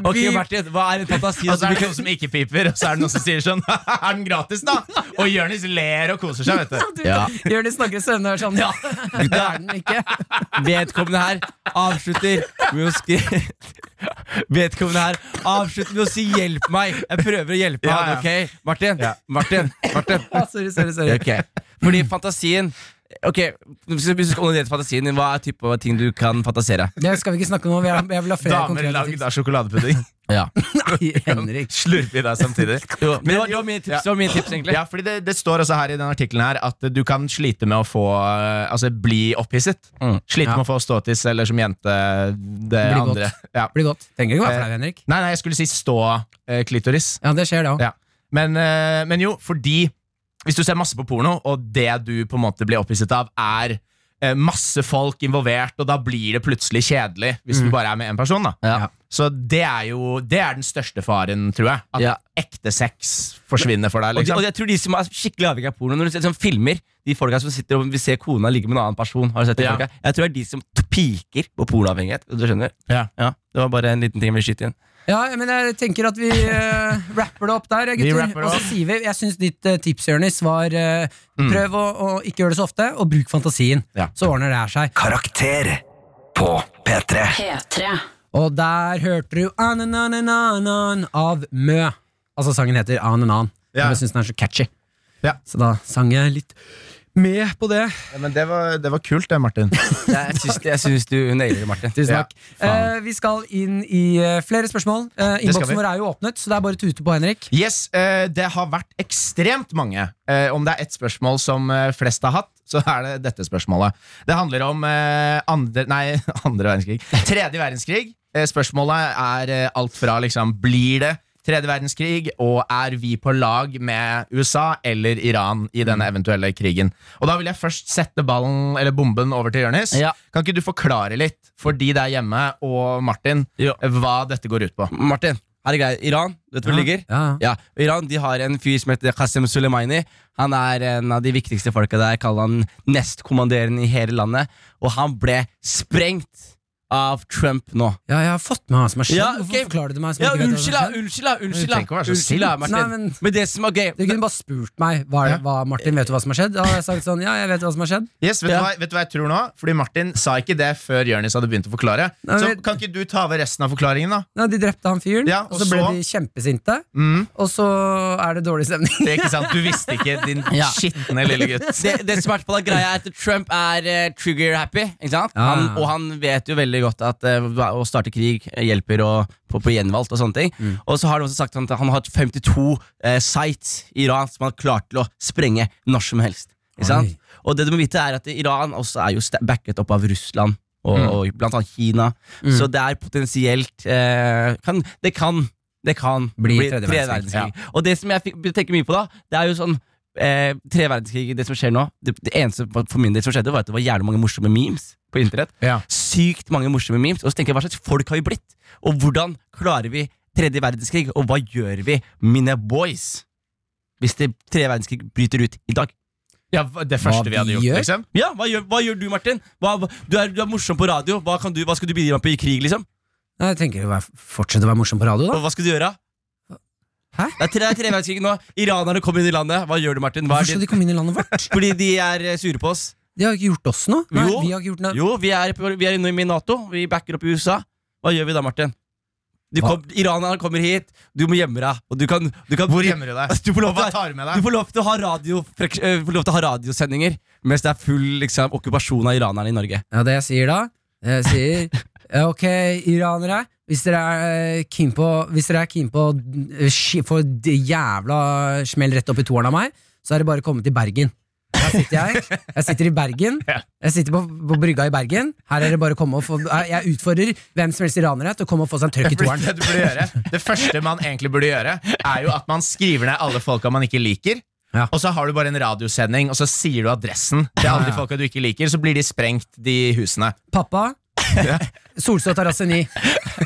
B: Ok,
C: Vi-
B: Martin, hva er en fantasi?
D: Og så Altså,
C: Altså,
D: er det noen som ikke piper, og så er det noen som sier sånn Er den gratis, da? Og Jørnis ler og koser seg, vet du.
C: Jørnis snakker i søvne og er sånn Ja, det er den ikke.
B: Vedkommende her avslutter med å skrive Vedkommende her avslutter med å si 'hjelp meg'. Jeg prøver å hjelpe
D: Ja,
B: han,
D: ja.
B: ok? Martin? Martin? Martin?
C: Å, Ah, sorry, sorry, sorry.
B: Ok. Fordi fantasien Ok, Hvis hvis du skal onanere til fantasien din, hva er type av ting du kan fantasere?
C: Det skal vi ikke snakke om nå. Jeg, jeg vil ha flere
D: Damer
C: konkrete
D: lagd
C: tips.
D: av sjokoladepudding.
C: Nei, Henrik.
D: Slurpe i deg samtidig.
B: Jo, men det var, det var mine tips, det var mine tips egentlig
D: Ja, fordi det, det står også her i den artikkelen her at du kan slite med å få eh, Altså bli opphisset.
B: Mm.
D: Slite
C: Ja.
D: med å få ståtiss eller som jente det
C: Bli godt.
D: andre. Ja.
C: Blir godt. Trenger ikke være
D: Eh,
C: flau, Henrik.
D: Nei, nei, jeg skulle si stå eh, klitoris.
C: Ja, det skjer, det òg.
D: Ja. Men, eh, men jo, fordi hvis du ser masse på porno, og det du på en måte blir opphisset av, er eh, masse folk involvert, og da blir det plutselig kjedelig hvis du bare er med én person. da
B: Mm. Ja.
D: Så det er jo Det er den største faren, tror jeg. At
B: Ja.
D: ekte sex forsvinner for deg.
B: Og, de, og
D: Liksom.
B: jeg tror de som er skikkelig avhengig av porno Når du ser sånn filmer De folka som sitter og vil se kona ligge med en annen person Har du sett det?
D: Ja.
B: folka? Jeg tror det er de som t- piker på pornoavhengighet Du skjønner?
D: Ja.
B: Det var bare en liten ting jeg ville skyte inn
C: Ja, men jeg tenker at vi eh, rapper det opp der, gutter.
D: rapper det
C: Og så
D: opp.
C: sier vi Jeg syns ditt eh, tips, Jonis, var eh, prøv å, å ikke gjøre det så ofte, og bruk fantasien.
D: Ja.
C: Så ordner det her seg.
A: Karakter på P3.
E: P3.
C: Og der hørte du Anananan av Mø. Altså sangen heter Ananan.
D: Ja.
C: Jeg syns den er så catchy.
D: Ja.
C: Så da sang jeg litt med på det.
D: men det var, kult, det, Martin.
B: Jeg syns, jeg syns du nailer det, Martin
C: Tusen
D: Ja,
C: takk. Eh, vi skal inn i eh, flere spørsmål. Eh,
D: Det skal vi.
C: Innboksen vår er jo åpnet, så det er bare å tute på, Henrik.
D: Yes, eh, Det har vært ekstremt mange. Eh, om det er ett spørsmål som eh, flest har hatt, så er det dette spørsmålet. Det handler om eh, andre, nei, andre verdenskrig. Tredje verdenskrig. Eh, spørsmålet er eh, alt fra liksom blir det tredje verdenskrig, og er vi på lag med USA eller Iran i denne
B: Mm.
D: eventuelle krigen? Og Da vil jeg først sette ballen, eller bomben over til Jonis.
B: Ja.
D: Kan ikke du forklare litt for de der hjemme og Martin
B: Ja.
D: eh, hva dette går ut på?
B: Martin, her er greia Iran, du vet hvor det ligger?
C: Ja.
B: Ja, Iran de har en fyr som heter Qasem Soleimani. Han er en av de viktigste folka der. Kaller han nestkommanderende i hele landet. Og han ble sprengt av Trump nå.
C: ja, jeg har fått med hva som har skjedd.
B: Ja, ok.
C: Hvorfor forklarer du meg som
B: Ja,
C: ikke vet hva
B: unnskyld,
C: som
B: da!
C: har skjedd?
B: Unnskyld, da! Unnskyld, da!
D: trenger ikke å være så
B: Unnskyld, da, Martin.
C: Nei, men-
B: Men det som er gøy
C: Du kunne bare spurt meg hva, er det- hva Martin vet du hva som har skjedd. Da hadde jeg sagt sånn, ja, jeg vet hva som har skjedd.
D: Yes, vet,
B: Ja.
D: du hva, vet du hva jeg tror nå? Fordi Martin sa ikke det før Jørnis hadde begynt å forklare.
C: Nei,
D: så
C: men-
D: kan ikke du ta over resten av forklaringen, da?
C: Nei, de drepte han fyren,
D: Ja,
C: og,
D: og
C: så ble
D: så-
C: de kjempesinte.
D: Mm.
C: Og så er det dårlig stemning.
D: Det er ikke sant, Du visste ikke, din
B: Ja.
D: skitne lille gutt.
B: det, det som er på da, greia er at Trump er eh, trigger-happy. ikke sant?
C: Ja.
B: Han, og han vet jo veldig godt at eh, hva- å starte krig hjelper å, på, på gjenvalgt. Og sånne ting
C: Mm.
B: Og så har han også sagt at han har hatt 52 eh, sites i Iran som han har klart til å sprenge når som helst. ikke sant?
C: Oi.
B: Og det du må vite er at Iran også er jo sta- backet opp av Russland. Og,
C: Mm.
B: og blant annet Kina. Så det er potensielt eh, kan, Det kan Det kan
C: Bli tredje verdenskrig,
B: Og det som jeg fikk tenke mye på da, det er jo sånn eh, Tre verdenskrig, det som skjer nå det, det eneste for for min del som skjedde, var at det var jævlig mange morsomme memes på internett.
D: Ja.
B: Sykt mange morsomme memes. Og så tenker jeg, hva slags folk har vi blitt? Og hvordan klarer vi tredje verdenskrig? Og hva gjør vi, mine boys, hvis det tredje verdenskrig bryter ut i dag?
D: Ja, det første vi hadde gjort,
C: gjør?
D: liksom.
B: Ja, hva gjør, hva gjør du, Martin? Hva, hva- du, er, du er morsom på radio. Hva, kan du, hva skal du bidra med i krig, liksom?
C: Nei, Jeg tenker å være- fortsette å være morsom på radio, da.
B: Og hva skal du gjøre?
C: Hæ?
B: Det er tre- det er tredjeverdenskrig nå. Iranerne kommer inn i landet. Hva gjør du, Martin? Hva er
C: Hvorfor skal
B: din?
C: de komme inn i landet vårt?
B: Fordi de er eh, sure på oss.
C: De har ikke gjort oss noe. Nei,
B: Jo.
C: vi har ikke gjort noe.
B: Jo, vi er, på- vi er inne i Nato. Vi backer opp i USA. Hva gjør vi da, Martin? Du
C: Hva?
B: kom, iranerne kommer hit. Du må gjemme deg. Og du kan, du kan
D: Hvor gjemmer du deg?
B: Altså, Du får lov
D: Hva
B: til å-
D: tar du med
B: du
D: deg?
B: får lov til å ha, radio, frek- eh, får lov til å ha radiosendinger mens det er full liksom, okkupasjon av iranerne i Norge.
C: Ja, det jeg sier da Jeg sier eh, Ok, iranere Hvis dere er eh, keen på Hvis dere er keen på eh, ski- Få d- jævla smell rett opp i toeren av meg Så er det bare å komme til Bergen Her sitter jeg Jeg sitter i Bergen Jeg sitter på, på brygga i Bergen Her er det bare å komme og få eh, Jeg utfordrer hvem som helst iranere Til å komme og få seg en trøkk i
D: Fordi
C: toeren
D: Det, du burde gjøre, det første man egentlig burde gjøre, er jo at man skriver ned alle folka man ikke liker.
C: Ja.
D: Og så har du bare en radiosending, og så sier du adressen til alle de folka du ikke liker. Så blir de sprengt, de husene.
C: Pappa Solstå terrasse 9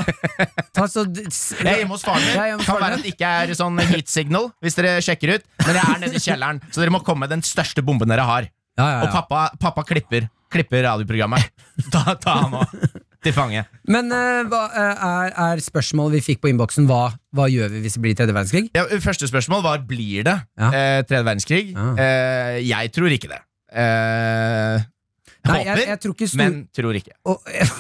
C: Ta så d- s-
D: Jeg er hjemme hos faren min.
C: Jeg er hjemme hos
D: Kan
C: faren
D: være
C: min.
D: at det ikke er sånn heat signal, hvis dere sjekker ut. Men jeg er nede i kjelleren, så dere må komme med den største bomben dere har.
C: ja, ja,
D: Og
C: ja.
D: pappa, pappa klipper, klipper radioprogrammet. Ta, ta han òg til fange.
C: Men eh, hva, eh, er, er spørsmålet vi fikk på innboksen hva, hva gjør vi hvis det blir tredje verdenskrig?
D: Ja, første spørsmål var blir det
C: Ja.
D: eh, tredje verdenskrig.
C: Ja.
D: Eh, jeg tror ikke det. Eh,
C: Nei,
D: håper,
C: jeg, jeg tror ikke stor...
D: men tror ikke.
C: Å,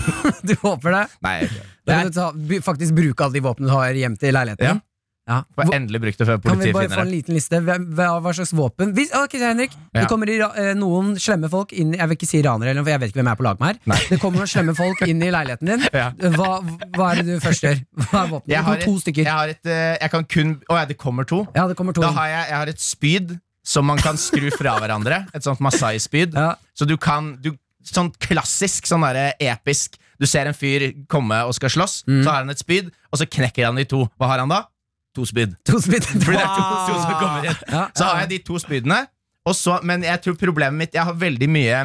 C: Du håper det?
D: Nei, jeg gjør ikke.
C: Da kan du ta, bu- faktisk bruke alle de våpnene du har hjemme til leiligheten.
D: Ja.
C: din. Ja.
D: Får endelig brukt det før
C: Kan vi
D: politiet
C: bare få
D: finner
C: en
D: det.
C: liten liste? Hvem, hva, hva slags våpen Hvis, Ok, Henrik Det
D: Ja.
C: kommer i, ra- eh, noen slemme folk inn Jeg vil ikke si ranere, eller noe, for jeg vet ikke hvem jeg er på lag med her Det kommer noen slemme folk inn i leiligheten din
D: Ja.
C: hva, hva er det du først gjør? Hva er
D: Jeg
C: våpenet? Det
D: har,
C: kommer to
D: et,
C: stykker
D: jeg har et eh, Jeg kan kun Å ja, det kommer to?
C: Ja, det kommer to
D: Da har jeg, jeg har et spyd som man kan skru fra hverandre. Et sånt Masai-spyd.
C: Ja.
D: Så du kan du, Sånn klassisk, sånn derre episk. Du ser en fyr komme og skal slåss,
C: Mm.
D: så har han et spyd, og så knekker han det i to. Hva har han da? To spyd.
C: To spyd
D: Fordi det er to, to som kommer inn.
C: ja,
D: Så har jeg de to spydene. Og så, men jeg tror problemet mitt Jeg har veldig mye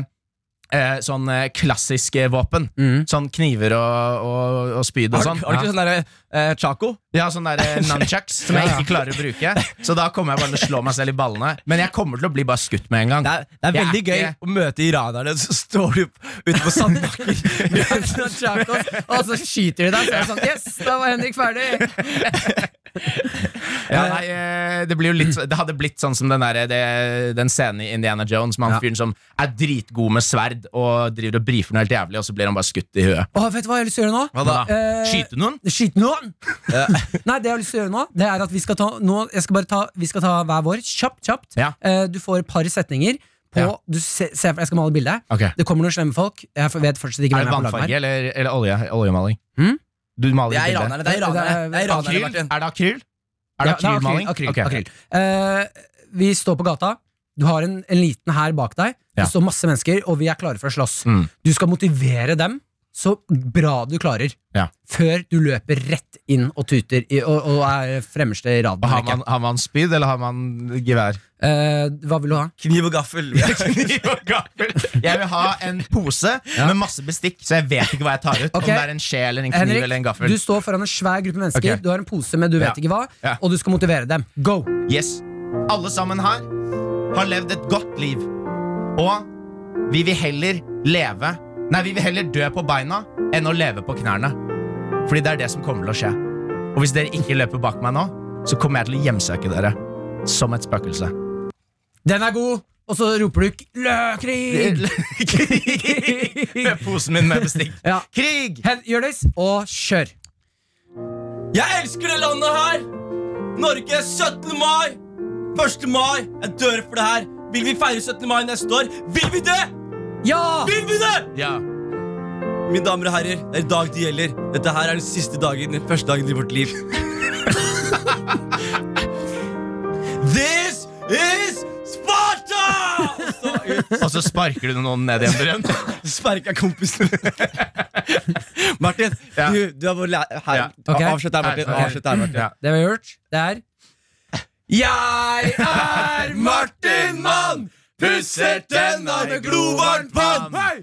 D: eh, sånn eh, klassiske våpen.
C: Mm.
D: Sånn kniver og, og, og spyd og
B: Har,
D: sånn.
B: du- har du ikke sånn derre eh, Chaco?
D: Ja, sånne der, eh, nunchucks som jeg
C: Ja, ja.
D: ikke klarer å bruke. Så da kommer jeg bare til å slå meg selv i ballene. Men jeg kommer til å bli bare skutt med en gang.
B: Det er, det er
D: Jeg er
B: veldig gøy
D: ikke-
B: å møte iranerne, så står du ute på sandbakker.
C: Tchaikovsky, Og så skyter de deg Så er det sånn, yes, da var Henrik ferdig
D: Ja, nei, eh, det, blir jo litt, så- det hadde blitt sånn som den, der, det, den scenen i Indiana Jones med han
C: Ja.
D: fyren som er dritgod med sverd og driver og brifer noe helt jævlig, og så blir han bare skutt i huet.
C: Åh, vet du hva jeg har lyst til å gjøre nå?
D: Hva da?
C: Eh,
D: Skyte noen?
C: Skyt noen! Nei, det jeg har lyst til å gjøre nå, Det er at vi skal ta, nå, jeg skal bare ta, vi skal ta hver vår. Kjapt, kjapt.
D: Ja.
C: Eh, du får et par setninger på
D: Ja.
C: du se, se, Jeg skal male bildet.
D: Ok.
C: Det kommer noen slemme folk. Jeg for- vet fortsatt ikke
D: Er det
C: hvem jeg er på lag
D: vannfarge
C: med.
D: eller, eller olje, oljemaling?
C: Hm?
D: Du maler
B: Det er
D: ikke
B: iranerne, det er iranerne. Det er
D: Akryl?
B: iranerne,
D: Er
B: Martin.
D: det akryl? Er
C: Ja,
D: det
C: det er
D: akrylmaling?
C: Akryl,
D: Ok.
C: akryl, akryl. Eh, vi står på gata. Du har en, en liten her bak deg. Det
D: Ja.
C: står masse mennesker, og vi er klare for å slåss.
D: Mm.
C: Du skal motivere dem så bra du klarer,
D: Ja.
C: før du løper rett inn og tuter i, og, og er fremmeste i raden.
D: Og Har,
C: eller ikke.
D: man, har man spyd, eller har man gevær?
C: Eh, hva vil du ha?
B: Kniv og gaffel.
D: Kniv og gaffel. Jeg vil ha en pose med masse bestikk, så jeg vet ikke hva jeg tar ut.
C: Ok.
D: Om det er en skje eller en kniv
C: Henrik,
D: eller en gaffel.
C: du står foran en svær gruppe mennesker.
D: Ok.
C: Du har en pose med du vet
D: Ja.
C: ikke hva,
D: Ja.
C: og du skal motivere dem. Go!
D: Yes. Alle sammen her har levd et godt liv. Og vi vil heller leve Nei, vi vil heller dø på beina enn å leve på knærne. Fordi det er det som kommer til å skje. Og hvis dere ikke løper bak meg nå, så kommer jeg til å hjemsøke dere. Som et spøkelse.
C: Den er god! Og så roper du k- lø, krig!
D: Med posen min med bestikk.
C: Ja.
D: Krig!
C: Hen, gjør det, og kjør.
B: Jeg elsker det landet her! Norge 17. mai! 1. mai! Jeg dør for det her! Vil vi feire 17. mai neste år? Vil vi det?
C: Ja!
B: Vil vi det?
D: Ja.
B: Mine damer og herrer, det er i dag det gjelder. Dette her er den siste dagen, den første dagen i vårt liv. This is Sparta! Og så ut.
D: Og så sparker du noen ned i en brønn.
B: Sparka kompisen. Martin,
D: Ja.
B: du, du er vår lærer. Her.
D: Ja.
C: Ok.
B: Avslutt her, Martin.
D: Ok.
B: Avslutt her, Martin.
D: Ja.
C: Det vi har gjort, det er
B: Jeg er Martin Mann! Pusser tenna med glovarmt vann!
C: Hei!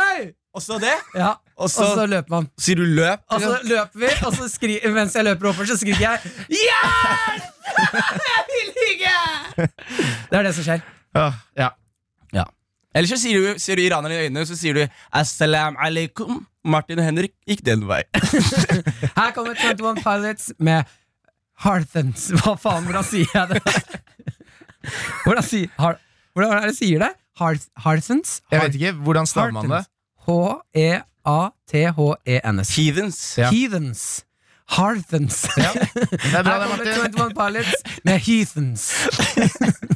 C: Hei!
B: Og så det,
C: Ja,
B: og
C: og så
B: så
C: løper man.
B: sier du løp.
C: Og så løper vi, og så skri mens jeg løper oppover, så skriker jeg Yes! Jeg vil ligge! Det er det som skjer.
D: Åh, Ja.
B: Eller så sier du, sier du iranerne i øynene, så sier du Assalam alaikum. Martin og Henrik gikk den vei.
C: Her kommer 21 Pilots med Harthens. Hva faen, hvordan sier jeg det? Hvordan, sier, har, hvordan er det jeg sier det? Harth, Harthens?
D: Jeg vet ikke, Hvordan staver man det?
C: Harthens. E H-e-a-t-h-e-n-s.
B: Heathens.
D: Ja.
C: E Heathens. Harthens.
D: Ja. Det er bra, det,
C: Her kommer
D: Martin.
C: 21 Pilots med Heathens.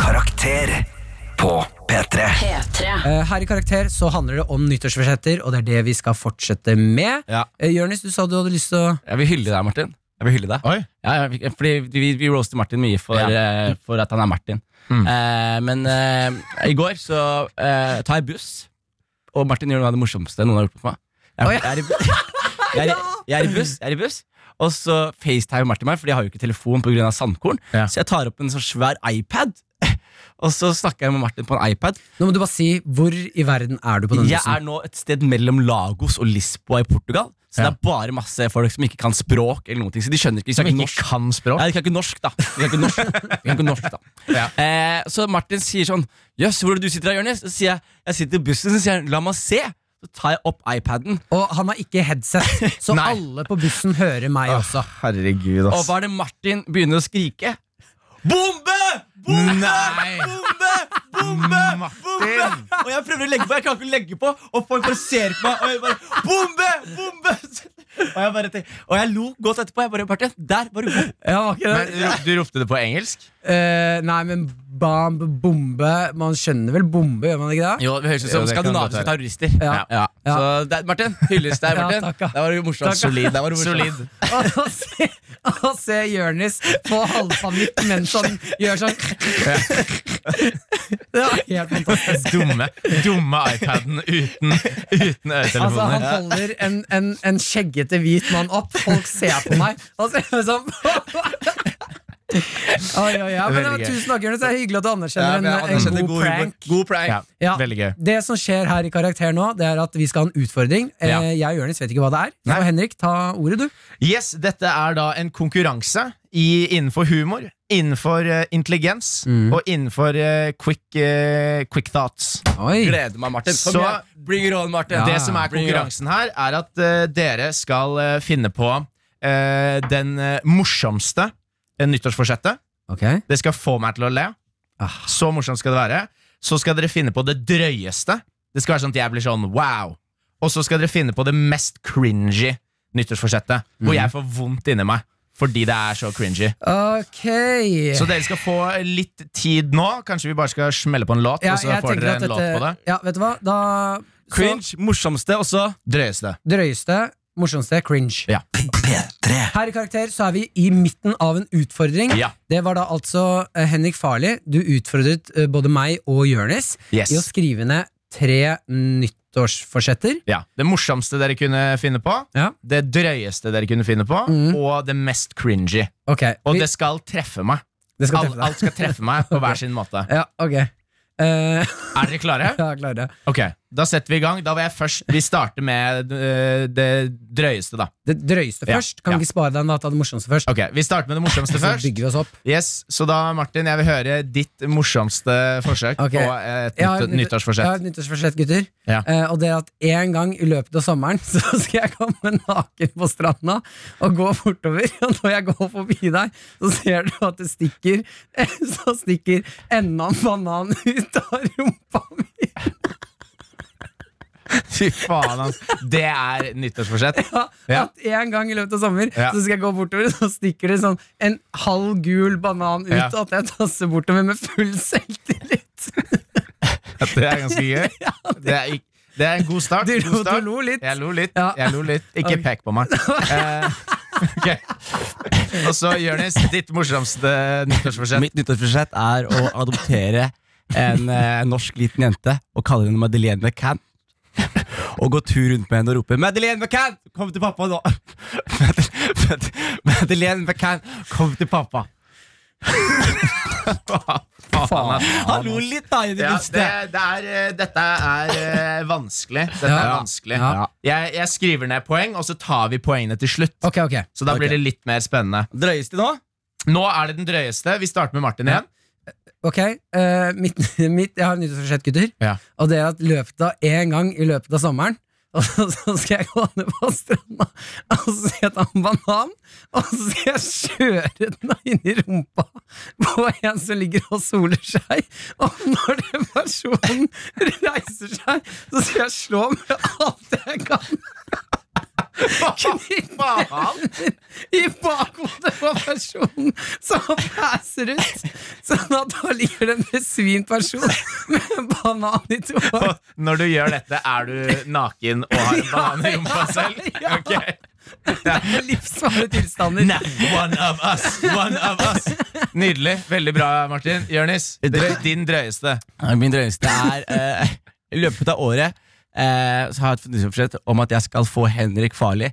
A: Karakter på P3.
E: P3.
C: Eh, Her i Karakter så handler det om nyttårsforsetter, og det er det vi skal fortsette med.
B: Ja.
C: Eh, Jørnis, du sa du hadde lyst til å
B: Jeg vil hylle deg, Martin. Jeg vil hylle deg.
D: Oi.
B: Ja, ja, vi- fordi vi, vi roaster Martin mye for, eh, for at han er Martin.
D: Mm.
B: Eh, men eh, i går så eh, tar jeg buss, og Martin gjør noe av det morsomste noen har gjort på meg. Jeg,
C: Å, ja.
B: jeg, er, i, bu- jeg, er, i- jeg er i buss, jeg er i buss og så facetimer Martin meg, Fordi jeg har jo ikke telefon pga. sandkorn.
D: Ja.
B: Så jeg tar opp en sånn svær iPad, og så snakker jeg med Martin på en iPad.
C: Nå må du bare si hvor i verden er du på denne
B: Jeg
C: bussen.
B: er nå et sted mellom Lagos og Lisboa i Portugal. Så
D: Ja.
B: det er bare masse folk som ikke kan språk, eller noen ting så de skjønner ikke. De
D: Som
B: snakker
D: ikke
B: norsk.
D: kan språk?
B: Nei, de kan ikke norsk, da. De kan ikke norsk, de kan ikke norsk da
D: Ja.
B: eh, Så Martin sier sånn Jøss, hvor er det du sitter da, Jonis? Så sier jeg jeg sitter i bussen, så sier han la meg se. Så tar jeg opp iPaden,
C: Og han har ikke headset, så
D: Nei.
C: alle på bussen hører meg også.
D: Herregud,
B: og hva er det Martin begynner å skrike? Bombe! Bombe!
D: Nei.
B: Bombe! Bombe! Bombe!
D: Martin!
B: Og jeg prøver å legge på, jeg kan ikke legge på, og folk bare ser på meg. Og jeg bare, bombe! Bombe! Og jeg, bare tenk- og jeg lo godt etterpå. Jeg bare, Martin, der var du god.
C: Ja, var ikke
D: Men
C: det?
D: ro- du ropte det på engelsk?
C: Eh, nei, men bam, bombe Man skjønner vel bombe, gjør man ikke det?
B: Jo, Vi høres ut
D: Jo,
B: som
D: det kan godt
B: skandinaviske
D: være.
B: terrorister.
C: Ja. Ja.
B: Så der, Martin, hylles der,
C: Ja,
B: Martin.
C: takk, ja.
B: Det var jo morsomt.
C: Takk, ja.
B: Solid. Der var du morsom.
D: Solid.
C: Å se, å se Jonis få halvpanikk mens han gjør sånn Det var helt fantastisk.
D: Dumme, dumme iPaden uten, uten
C: Altså, han
D: øretelefoner.
C: holder en, en, en skjeggete hvit mann opp. Folk ser på meg. Og ser ut som sånn- Oi, oi, ja, men det var
D: Veldig gøy.
C: Tusen takk, Jonis. Det er hyggelig at du
B: Ja,
C: anerkjenner
B: men jeg
C: en, en
B: anerkjenner
C: god,
B: god humor.
C: prank.
B: God prank.
D: Ja,
C: Ja.
D: Veldig gøy.
C: Det som skjer her i Karakter nå, Det er at vi skal ha en utfordring. Eh,
D: Ja.
C: Jeg og Jonis vet ikke hva det er.
D: Nei.
C: Så Henrik, ta ordet, du.
D: Yes, dette er da en konkurranse i, innenfor humor, innenfor eh, intelligens
C: Mm.
D: og innenfor eh, quick, eh, quick thoughts.
C: Oi.
B: Gleder meg, Martin. Kom
D: Så-
B: igjen. Bring it on, Martin.
C: Ja.
D: Det som er
B: Bring it on.
D: konkurransen her, er at eh, dere skal eh, finne på eh, den eh, morsomste eh, nyttårsforsettet.
C: Ok
D: Det skal få meg til å le.
C: Ah.
D: Så morsomt skal det være. Så skal dere finne på det drøyeste. Det skal være sånn at jeg blir sånn wow. Og så skal dere finne på det mest cringy nyttårsforsettet,
C: Mhm.
D: hvor jeg får vondt inni meg fordi det er så cringy.
C: Ok
D: Så dere skal få litt tid nå. Kanskje vi bare skal smelle på en låt,
C: Ja,
D: og så
C: jeg
D: får
C: tenker
D: dere
C: at
D: en låt
C: dette-
D: på det.
C: Ja, vet du hva? Da så,
B: Cringe, morsomste, og så
D: Drøyeste.
C: Drøyeste, morsomste, cringe.
D: Ja.
A: P3.
C: Her i Karakter så er vi i midten av en utfordring.
D: Ja.
C: Det var da altså eh, Henrik Farli. Du utfordret eh, både meg og Jonis
D: Yes.
C: i å skrive ned tre nyttårsforsetter.
D: Ja. Det morsomste dere kunne finne på,
C: Ja.
D: det drøyeste dere kunne finne på,
C: Mm.
D: og det mest cringy.
C: Ok,
D: Og
C: vi,
D: det skal treffe meg.
C: det skal
D: Alt,
C: treffe deg.
D: alt skal treffe meg på hver sin måte.
C: Ja, ok. Eh,
D: Er dere klare?
C: ja, klarer det.
D: Ok, Da setter vi i gang. Da vil jeg først Vi starter med eh, det drøyeste, da.
C: Det drøyeste
D: Ja,
C: først. Kan vi
D: ja.
C: ikke spare deg en da, ta det morsomste først?
D: Ok, Vi starter med det morsomste
C: Så
D: først.
C: bygger vi oss opp.
D: Yes, Så da, Martin, jeg vil høre ditt morsomste forsøk
C: Ok.
D: på et
C: Jeg har
D: nytt,
C: nytt-
D: nyttårsforsett.
C: Jeg har et nyttårsforsett, gutter.
D: Ja.
C: Eh, og det er at en gang i løpet av sommeren så skal jeg komme naken på stranda og gå bortover. Og når jeg går forbi deg, så ser du at det stikker Så stikker enda en banan ut av rumpa mi.
D: Fy faen, ass. Det er nyttårsforsett.
C: Ja,
D: Ja.
C: At en gang i løpet av sommer
D: Ja.
C: så skal jeg gå bortover, så stikker det sånn en halv gul banan ut,
D: Ja.
C: og at jeg tasser bortover med full selvtillit.
D: Det er ganske gøy. Det er, ikk- det er en god start.
C: Du,
D: god
C: lo- du
D: start.
C: lo litt.
D: Jeg lo litt.
C: Ja.
D: Jeg lo litt. Ikke
C: Ok.
D: pek på meg. Eh, ok. Og så, Jonis, ditt morsomste nyttårsforsett.
B: Mitt nyttårsforsett er å adoptere en eh, norsk liten jente og kalle henne Madeleine McCann. Og gå tur rundt med henne og rope 'Madeleine McCann, kom til pappa nå!' Madeleine McCann, kom til pappa.
D: Faen, ass.
B: Han lo litt, da, i det
D: Ja,
B: minste.
D: det, det er, eh, dette er eh, vanskelig. Dette er
C: Ja.
D: vanskelig.
C: Ja.
D: Jeg, jeg skriver ned poeng, og så tar vi poengene til slutt.
C: Ok, ok.
D: Så da blir
B: Ok.
D: det litt mer spennende.
B: Drøyeste nå?
D: Nå er det den drøyeste. Vi starter med Martin igjen.
C: Ok, eh, mitt, mitt, jeg har en nyttårsforsett, gutter.
D: Ja.
C: Og det er at løpet av en gang i løpet av sommeren, og så, så skal jeg gå ned på stranda, og så skal jeg ta en banan, og så skal jeg kjøre den inn i rumpa på en som ligger og soler seg. Og når den personen reiser seg, så skal jeg slå med alt jeg kan
D: Faen!
C: i bakhodet på personen som passer ut, sånn at da ligger det en besvimt person med en banan i tåa.
D: Og når du gjør dette, er du naken og har en banan i rumpa selv?
C: Ja.
D: Ok.
C: Livsfarlige tilstander.
D: One of us, one of us. Nydelig. Veldig bra, Martin. Jonis, det er din drøyeste.
B: Ja, Min drøyeste er eh, I løpet av året eh, Så har jeg et nyttårsforsett om at jeg skal få Henrik Farli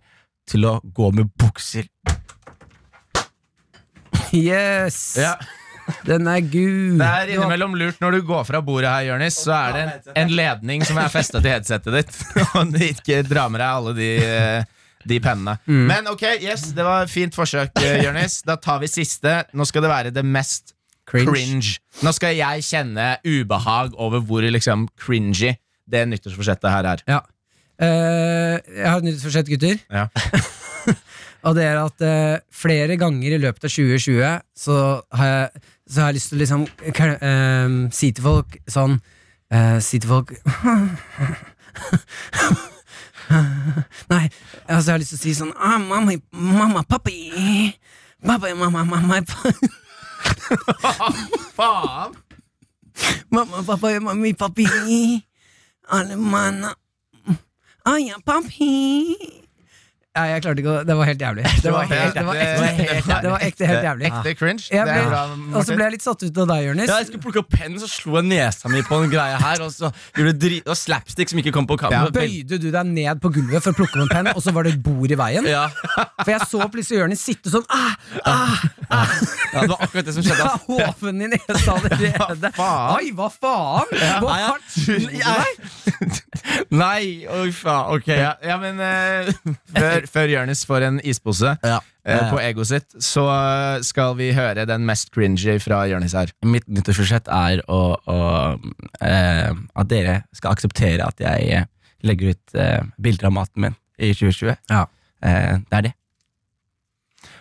B: til å gå med bukser.
C: Yes! Den er gul.
D: Det er innimellom lurt når du går fra bordet her, Jonis, så er det en, en ledning som er festa til headsetet ditt. Og du ikke drar med deg alle de, eh, de pennene.
C: Mm.
D: Men ok, yes, det var et fint forsøk, eh, Jonis. Da tar vi siste. Nå skal det være det mest cringe. Nå skal jeg kjenne ubehag over hvor liksom cringy det nyttårsforsettet her er.
C: Ja. Eh, jeg har et nytt forsett, gutter.
D: Ja.
C: Og det er at eh, flere ganger i løpet av 2020 så har jeg, så har jeg lyst til å liksom kan- eh, si til folk sånn eh, Si til folk Nei, Og så har jeg lyst til å si sånn ah, mamma, mamma, pappi Pappa, mamma, mamma pa-
D: Faen!
C: Mamma, pappa, mammi, pappi Alle manna Aja, pappi Nei, jeg klarte ikke å Det var helt jævlig. Det var helt, det var ekte, det var ekte helt jævlig.
D: Ekte cringe.
C: Jeg
D: det er bra,
C: ble, og så ble jeg litt satt ut av deg, Jonis.
B: Ja, jeg skulle plukke opp pennen, så slo jeg nesa mi på en greie her. Og så gjorde det dri- det var slapstick som ikke kom på kamera.
C: Bøyde du deg ned på gulvet for å plukke opp en penn, og så var det et bord i veien?
B: Ja.
C: For jeg så plutselig Jonis sitte sånn ah, ah, ah,
B: ja, Det var akkurat det som skjedde.
C: Fra
B: ass.
C: hoven i nesa allerede.
D: faen?
C: Oi, hva faen? Hvor
B: Nei,
C: hardt
B: jeg-
C: slo du deg?
B: Nei, oi faen. Ok.
D: Ja, ja, men eh, før, før Jonis får en ispose
B: Ja.
D: eh, på egoet sitt, så eh, skal vi høre den mest cringy fra Jonis her.
B: Mitt nyttårsforsett er å, å eh, at dere skal akseptere at jeg eh, legger ut eh, bilder av maten min i 2020.
C: Ja.
B: Eh, det er det.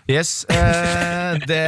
D: Yes, eh, det,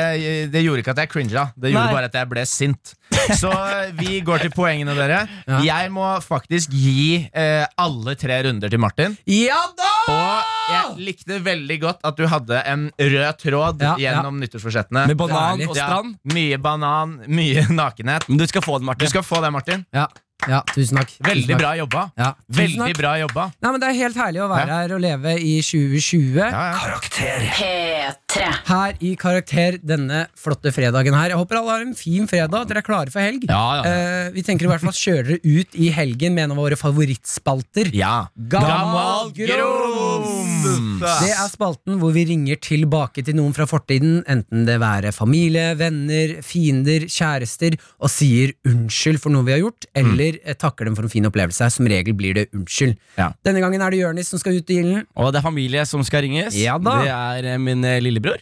D: det gjorde ikke at jeg cringa, det gjorde
B: Nei.
D: bare at jeg ble sint. Så eh, vi går til poengene, dere.
C: Ja.
D: Jeg må faktisk gi eh, alle tre runder til Martin.
C: Ja da!
D: Og jeg likte veldig godt at du hadde en rød tråd
C: Ja, ja.
D: gjennom nyttårsforsettene.
B: Med banan
C: Ærlig.
B: og
D: Ja,
B: strand.
D: mye banan, mye nakenhet.
B: Men du skal få den,
D: Du
B: Martin.
D: skal få det, Martin.
C: Ja, ja tusen takk. Tusen
D: Veldig
C: takk.
D: bra jobba.
C: Ja, tusen
D: Veldig
C: takk.
D: bra jobba.
C: Nei, men Det er helt herlig å være
D: Ja.
C: her og leve i 2020.
A: Karakter.
E: P3.
C: Her i Karakter denne flotte fredagen her. Jeg håper alle har en fin fredag. at Dere er klare for helg.
D: Ja, ja,
C: Eh, vi tenker i hvert fall kjøre dere ut i helgen med en av våre favorittspalter.
D: Ja.
C: Gammal grums! Det er spalten hvor vi ringer tilbake til noen fra fortiden, enten det være familie, venner, fiender, kjærester, og sier unnskyld for noe vi har gjort,
D: Mm.
C: eller eh, takker dem for en fin opplevelse. Som regel blir det unnskyld.
D: Ja.
C: Denne gangen er det Jørnis som skal ut i ilden.
B: Og det er familie som skal ringes.
C: Ja da.
B: Det er eh, min eh, lillebror.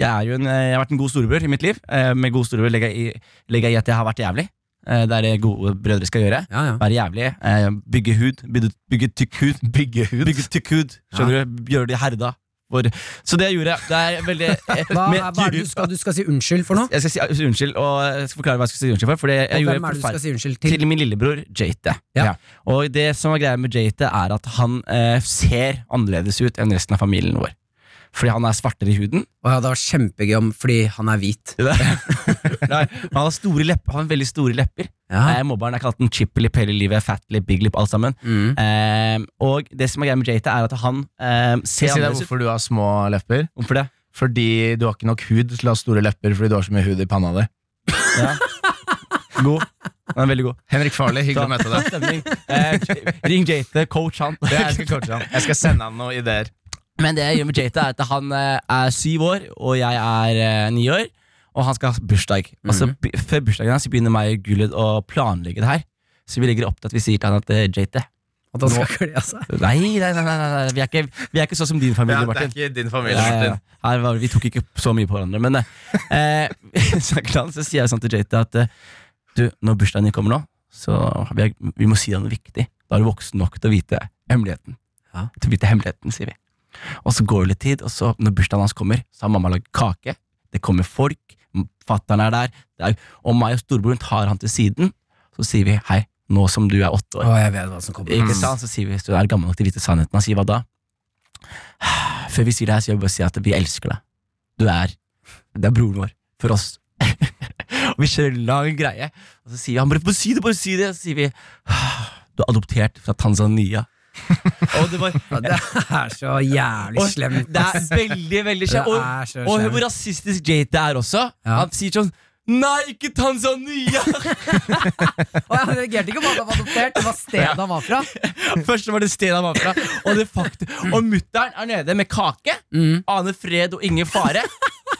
B: Jeg, er jo en, eh, jeg har vært en god storebror i mitt liv. Eh, med god storebror legger jeg i, legger jeg i at jeg har vært jævlig. Eh, det er det gode brødre skal gjøre.
C: Ja, ja.
B: Være jævlig. Eh, bygge hud. Bygge, bygge tykk hud. Bygge hud. tykk hud. Skjønner du? Gjøre det herda. For, så det jeg gjorde, det er veldig eh,
C: Hva,
B: med
C: er, hva er det
B: gud-
C: du skal, du skal si unnskyld for nå?
B: Jeg skal si altså, unnskyld, og jeg skal forklare hva jeg skal si unnskyld for. for det, jeg
C: Og
B: gjorde
C: hvem er det du skal
B: forferd-
C: si unnskyld til?
B: til min lillebror Jate.
C: Ja.
B: Og det som er greia med Jate, er at han eh, ser annerledes ut enn resten av familien vår. Fordi han er svartere i huden.
C: Å ja, det var kjempegøy om fordi han er hvit.
B: Nei, han, har store lepper, han har veldig store lepper.
C: Ja.
B: Eh, mobberen er kalt en chippelip hele livet. Fatlip, biglip, alt sammen.
C: Mm.
B: Eh, og det som er greia med Jate, er at han eh,
D: Skal jeg
B: ser
D: si deg
B: annerledes ut.
D: hvorfor du har små lepper?
B: Hvorfor det?
D: Fordi du har ikke nok hud til å ha store lepper fordi du har så mye hud i panna di.
B: Ja. God. Han er veldig god.
D: Henrik Farley, hyggelig å møte deg.
B: Stemning. Eh, ring Jate, coach han.
D: Det er- Jeg skal coache han. Jeg skal sende han noen ideer.
B: Men det jeg gjør med Jata, er at han eh, er syv år, og jeg er eh, ni år. Og han skal ha bursdag. Og
D: Mhm.
B: så be- Før bursdagen hans så begynner meg og Gullet å planlegge det her. Så vi legger opp til at vi sier til han at eh, Jate
C: At han skal kle seg.
B: nei, nei, nei, nei, nei, nei. Vi, er ikke, vi er ikke sånn som din familie, Martin.
D: ikke din familie,
B: Ja, ja, ja. Her var, vi tok ikke så mye på hverandre, men eh, så, er det klart, så sier jeg sånn til Jata at eh, du, når bursdagen din kommer nå, så vi, er, vi må si deg noe viktig. Da er du voksen nok til å vite hemmeligheten.
C: Ja.
B: Til å vite hemmeligheten, sier vi. Og så går det litt tid, og så når bursdagen hans kommer, så har mamma lagd kake. Det kommer folk, fattern er der, det er, og meg og storebroren tar han til siden. Så sier vi hei, nå som du er åtte år.
C: Å, jeg vet hva som kommer.
B: Ikke sant? Så sier vi hvis du er gammel nok til å vite sannheten. Han sier hva da? Før vi sier det her, så vil jeg bare si at vi elsker deg. Du er Det er broren vår. For oss. og vi kjører lang greie, og så sier han bare, bare si det, bare si det. Så sier vi du er adoptert fra Tanzania. og det var
C: Ja, Det er så jævlig
B: og,
C: slemt.
B: Det
C: ass.
B: er veldig, veldig
C: Det
B: skjevt. Og,
C: er så
B: og
C: slemt.
B: hvor rasistisk Jate er også.
C: Ja.
B: Han sier sånn Nei, ikke Tanzania!
C: Å, jeg reagerte ikke på at han var adoptert, det var stedet han var fra.
B: Først var det stedet han var fra, og, det fakt- og mutter'n er nede med kake. Aner fred og ingen fare.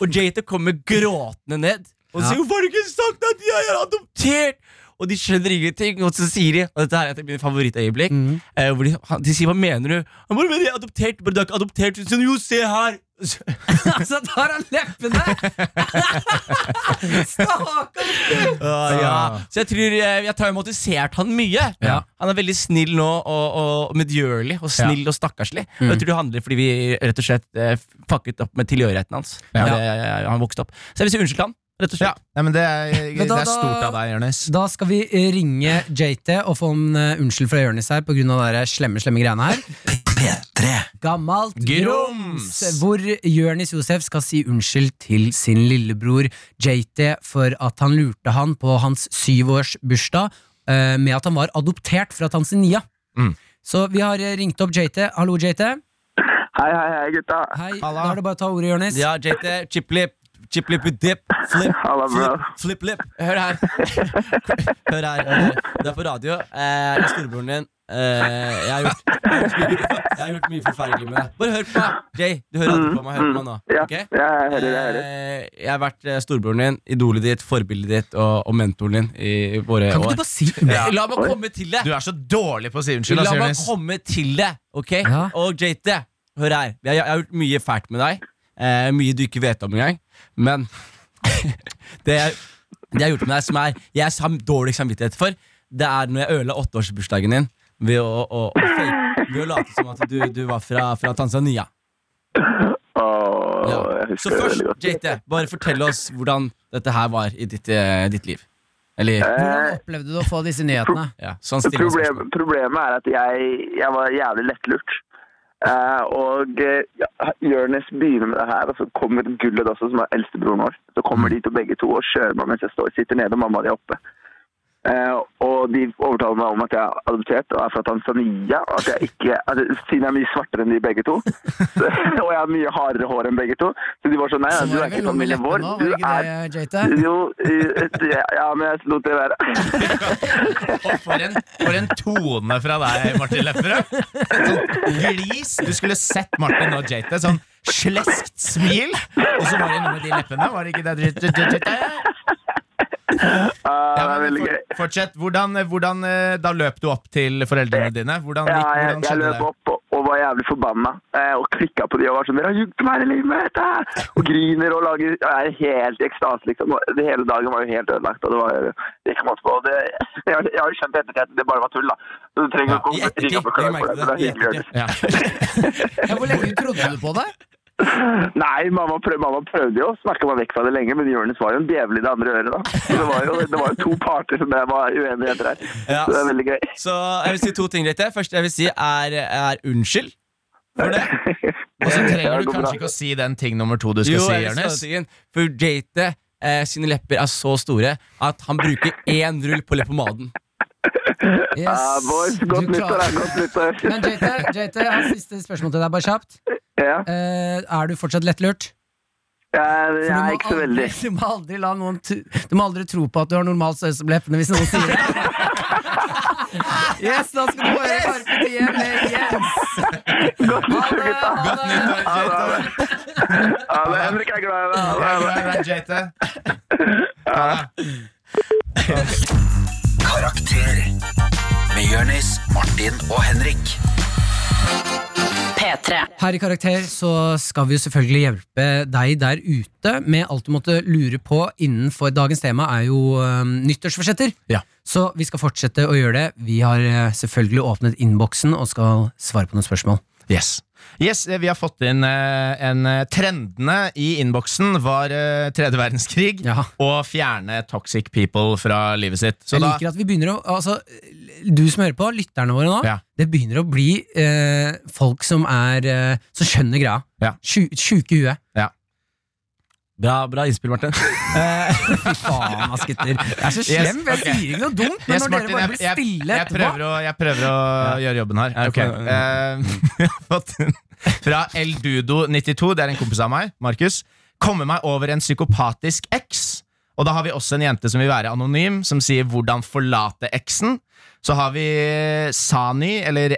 B: Og Jate kommer gråtende ned og
C: Ja.
B: sier 'Hvorfor har du ikke sagt at jeg er adoptert?' Og de skjønner ingenting, og så sier de Og dette her er et av mine favorittøyeblikk. Eh, hvor de, han, de sier 'Hva mener du?' Han bare, men 'Jeg er adoptert.' Bare, 'Du er ikke adoptert.' Så, jo, se her! Så,
C: Så tar han leppene! Stakkars!
B: Ah, ja. så jeg tror eh, jeg, jeg tar traumatisert han mye.
D: Ah. Ja.
B: Han er veldig snill nå og, og medgjørlig og snill og stakkarslig.
D: Mm.
B: Og jeg tror det handler fordi vi rett og slett eh, fucket opp med tilhørigheten hans.
D: Ja.
B: Det- Han vokste opp Så jeg vil si unnskyld til han. Rett og
D: Ja,
B: slett.
D: nei, men det er,
C: Men da-
D: det er stort av deg, Jonis.
C: Da skal vi eh, ringe JT og få en eh, unnskyld fra Jonis her pga. de slemme slemme greiene her.
A: P3.
C: Gammalt
D: Grums!
C: Hvor Jonis Josef skal si unnskyld til sin lillebror JT for at han lurte han på hans syvårsbursdag eh, med at han var adoptert fra Tanzania.
D: Mm.
C: Så vi har eh, ringt opp JT. Hallo, JT.
E: Hei, hei, hei, gutta.
C: Hei.
D: Halla.
C: Da er det bare å ta ordet, Jonis.
B: Ja, JT, chiplip, chiplip dip, flip,
E: Halla, bro.
B: flip, flip lip. Hør her. Hør her. eh, Det er på radio. Eh, jeg er storebroren din. Eh, jeg, har gjort, jeg, har gjort mye, jeg har gjort mye forferdelig med deg. Bare hør på meg. Jay, du hører aldri på meg. Hør på meg nå.
E: Mm, Ja,
B: ok?
E: ja, jeg hører, jeg hører.
B: Eh, jeg har vært eh, storebroren din, idolet ditt, forbildet ditt og, og mentoren din i våre
C: Kan ikke
B: år.
C: du bare si
B: Eh, La meg komme til det!
D: Du er så dårlig på å si unnskyld,
B: La
D: ass,
B: meg
D: Jonis.
B: komme til det, ok?
C: Ja.
B: Og JT, hør her. Jeg, jeg har gjort mye fælt med deg. Eh, mye du ikke vet om engang. Men det, jeg, det jeg har gjort med deg, som er, jeg har dårlig samvittighet for, det er når jeg ødela åtteårsbursdagen din ved å, å, å, fake- ved å late som at du, du var fra, fra Tanzania.
E: Åh,
B: Ja.
E: jeg
B: Så
E: husker det
B: først,
E: veldig godt.
B: JT, bare fortell oss hvordan dette her var i ditt, eh, ditt liv. Eller
E: Eh,
C: Hvordan opplevde du å få disse nyhetene?
B: ja, sånn stille
E: problem,
B: spørsmål.
E: problemet er at jeg, jeg var jævlig lettlurt. Eh, og eh, ja, Jonis begynner med det her, og så kommer Gullet også, som er eldstebroren vår. Så
C: Mm.
E: kommer de to begge to og kjører meg mens jeg står, sitter nede og mamma og de er oppe. Eh, og de overtaler meg om at jeg er adoptert og er fra Tanzania. Og at jeg ikke, at, jeg- siden jeg er mye svartere enn de begge to. Så, og jeg har mye hardere hår enn begge to. Så de var sånn nei,
C: Så
E: du
C: var det
E: er
C: vel
E: ikke
C: noe med
E: familien vår.
C: leppene òg,
E: Du
C: var det
E: er
C: ikke det, JT?
E: Jo, eh, ja, ja, men jeg lot det være.
D: Og for en, for en tone fra deg, Martin Lepperød. Sånn glis. Du skulle sett Martin og JT. Sånn sleskt smil. Og så var det noe med de leppene. Var det ikke det? J- j- j- j-
E: Ja,
D: Ja,
E: det er
D: men
E: veldig gøy.
D: for- Fortsett. Hvordan, hvordan eh, Da løp du opp til foreldrene dine? Hvordan,
E: Ja,
D: gikk-
E: jeg,
D: hvordan
E: jeg
D: skjedde
E: løp
D: det?
E: opp og, og var jævlig forbanna. Eh, og klikka på de og var sånn 'Dere har jugd meg hele livet!' eh!» Og griner og lager Jeg er helt i ekstase, liksom. Og det hele dagen var jo helt ødelagt. Og det var det kom på. Og det, jeg, har- jeg har jo skjønt i ettertid at det bare var tull, da. Så du trenger
D: Ja,
E: ikke
B: i
E: å
B: ettertid.
E: ringe og
B: Jeg
E: beklage
B: merket
E: for det. så
B: det,
E: det
B: i
E: er hyggelig. Jonis.
D: Ja.
C: Ja, hvor lenge trodde du på det?
E: Nei, mamma, prøv, mamma prøvde jo å snakke meg vekk fra det lenge, men Jonis var jo en djevel i det andre øret, da. Så det var jo, det var jo to parter som jeg var uenigheter her.
B: Ja.
E: Så det er veldig gøy.
B: Så jeg vil si to ting, JT. Første jeg vil si, er, er unnskyld. For det.
D: Og så
E: Ja,
D: trenger
E: det
D: du
E: går bra.
D: kanskje ikke å si den ting nummer to du skal si,
B: jeg vil
D: Jonis.
B: si den tingen, For Jate eh, sine lepper er så store at han bruker én rull på leppepomaden.
C: Yes.
E: Ja, Ah, boys,
C: Du
E: godt nyttår,
C: klarer-
E: da. Godt nyttår.
C: Men JT, JT, jeg har siste spørsmål til deg, bare kjapt.
E: Ja.
C: Eh, er du fortsatt lettlurt?
E: Jeg,
C: For
E: jeg
C: du
E: er
C: må
E: ikke så
C: aldri-
E: veldig.
C: Du må aldri la noen tu- Du må aldri tro på at du har normal størrelse på leppene hvis noen sier det. Yes, da skal du få høre Carpe Diem med Jens.
E: Godt nyttår, gutta.
C: Ha det, ha det.
E: Ha det, ha det. Ha det. Henrik er glad i deg. Ha det, ha det.
A: Karakter. Med Jørnis, Martin og Henrik.
F: P3.
C: Her i Karakter så skal vi jo selvfølgelig hjelpe deg der ute med alt du måtte lure på innenfor dagens tema er jo øhm, nyttårsforsetter.
D: Ja.
C: Så vi skal fortsette å gjøre det. Vi har øh, selvfølgelig åpnet innboksen og skal svare på noen spørsmål.
D: Yes. yes, eh, Vi har fått inn eh, en eh, Trendene i innboksen var eh, tredje verdenskrig
C: Ja.
D: og fjerne toxic people fra livet sitt. Så
C: Jeg
D: da,
C: liker at vi begynner å altså, Du som hører på, lytterne våre nå,
D: Ja.
C: det begynner å bli øh, folk som er øh, Som skjønner greia.
D: Ja.
C: Sju- Sjuke i huet.
B: Bra, bra innspill, Martin.
C: Fy faen, ass, gutter. Jeg er så
D: Yes,
C: slem, for jeg
D: ok.
C: sier ikke noe dumt, men
D: Yes,
C: når
D: Martin,
C: dere bare
D: jeg-
C: blir
D: jeg-
C: stille
D: Jeg
C: etterpå
D: prøver å, jeg prøver å gjøre jobben her.
B: Ja,
D: Ok.
B: kom igjen.
D: Eh, jeg har fått en fra El Dudo 92. Det er en kompis av meg. Markus. Komme meg over en psykopatisk eks. Og da har vi også en jente som vil være anonym, som sier 'hvordan forlate eksen'. Så har vi Sani, eller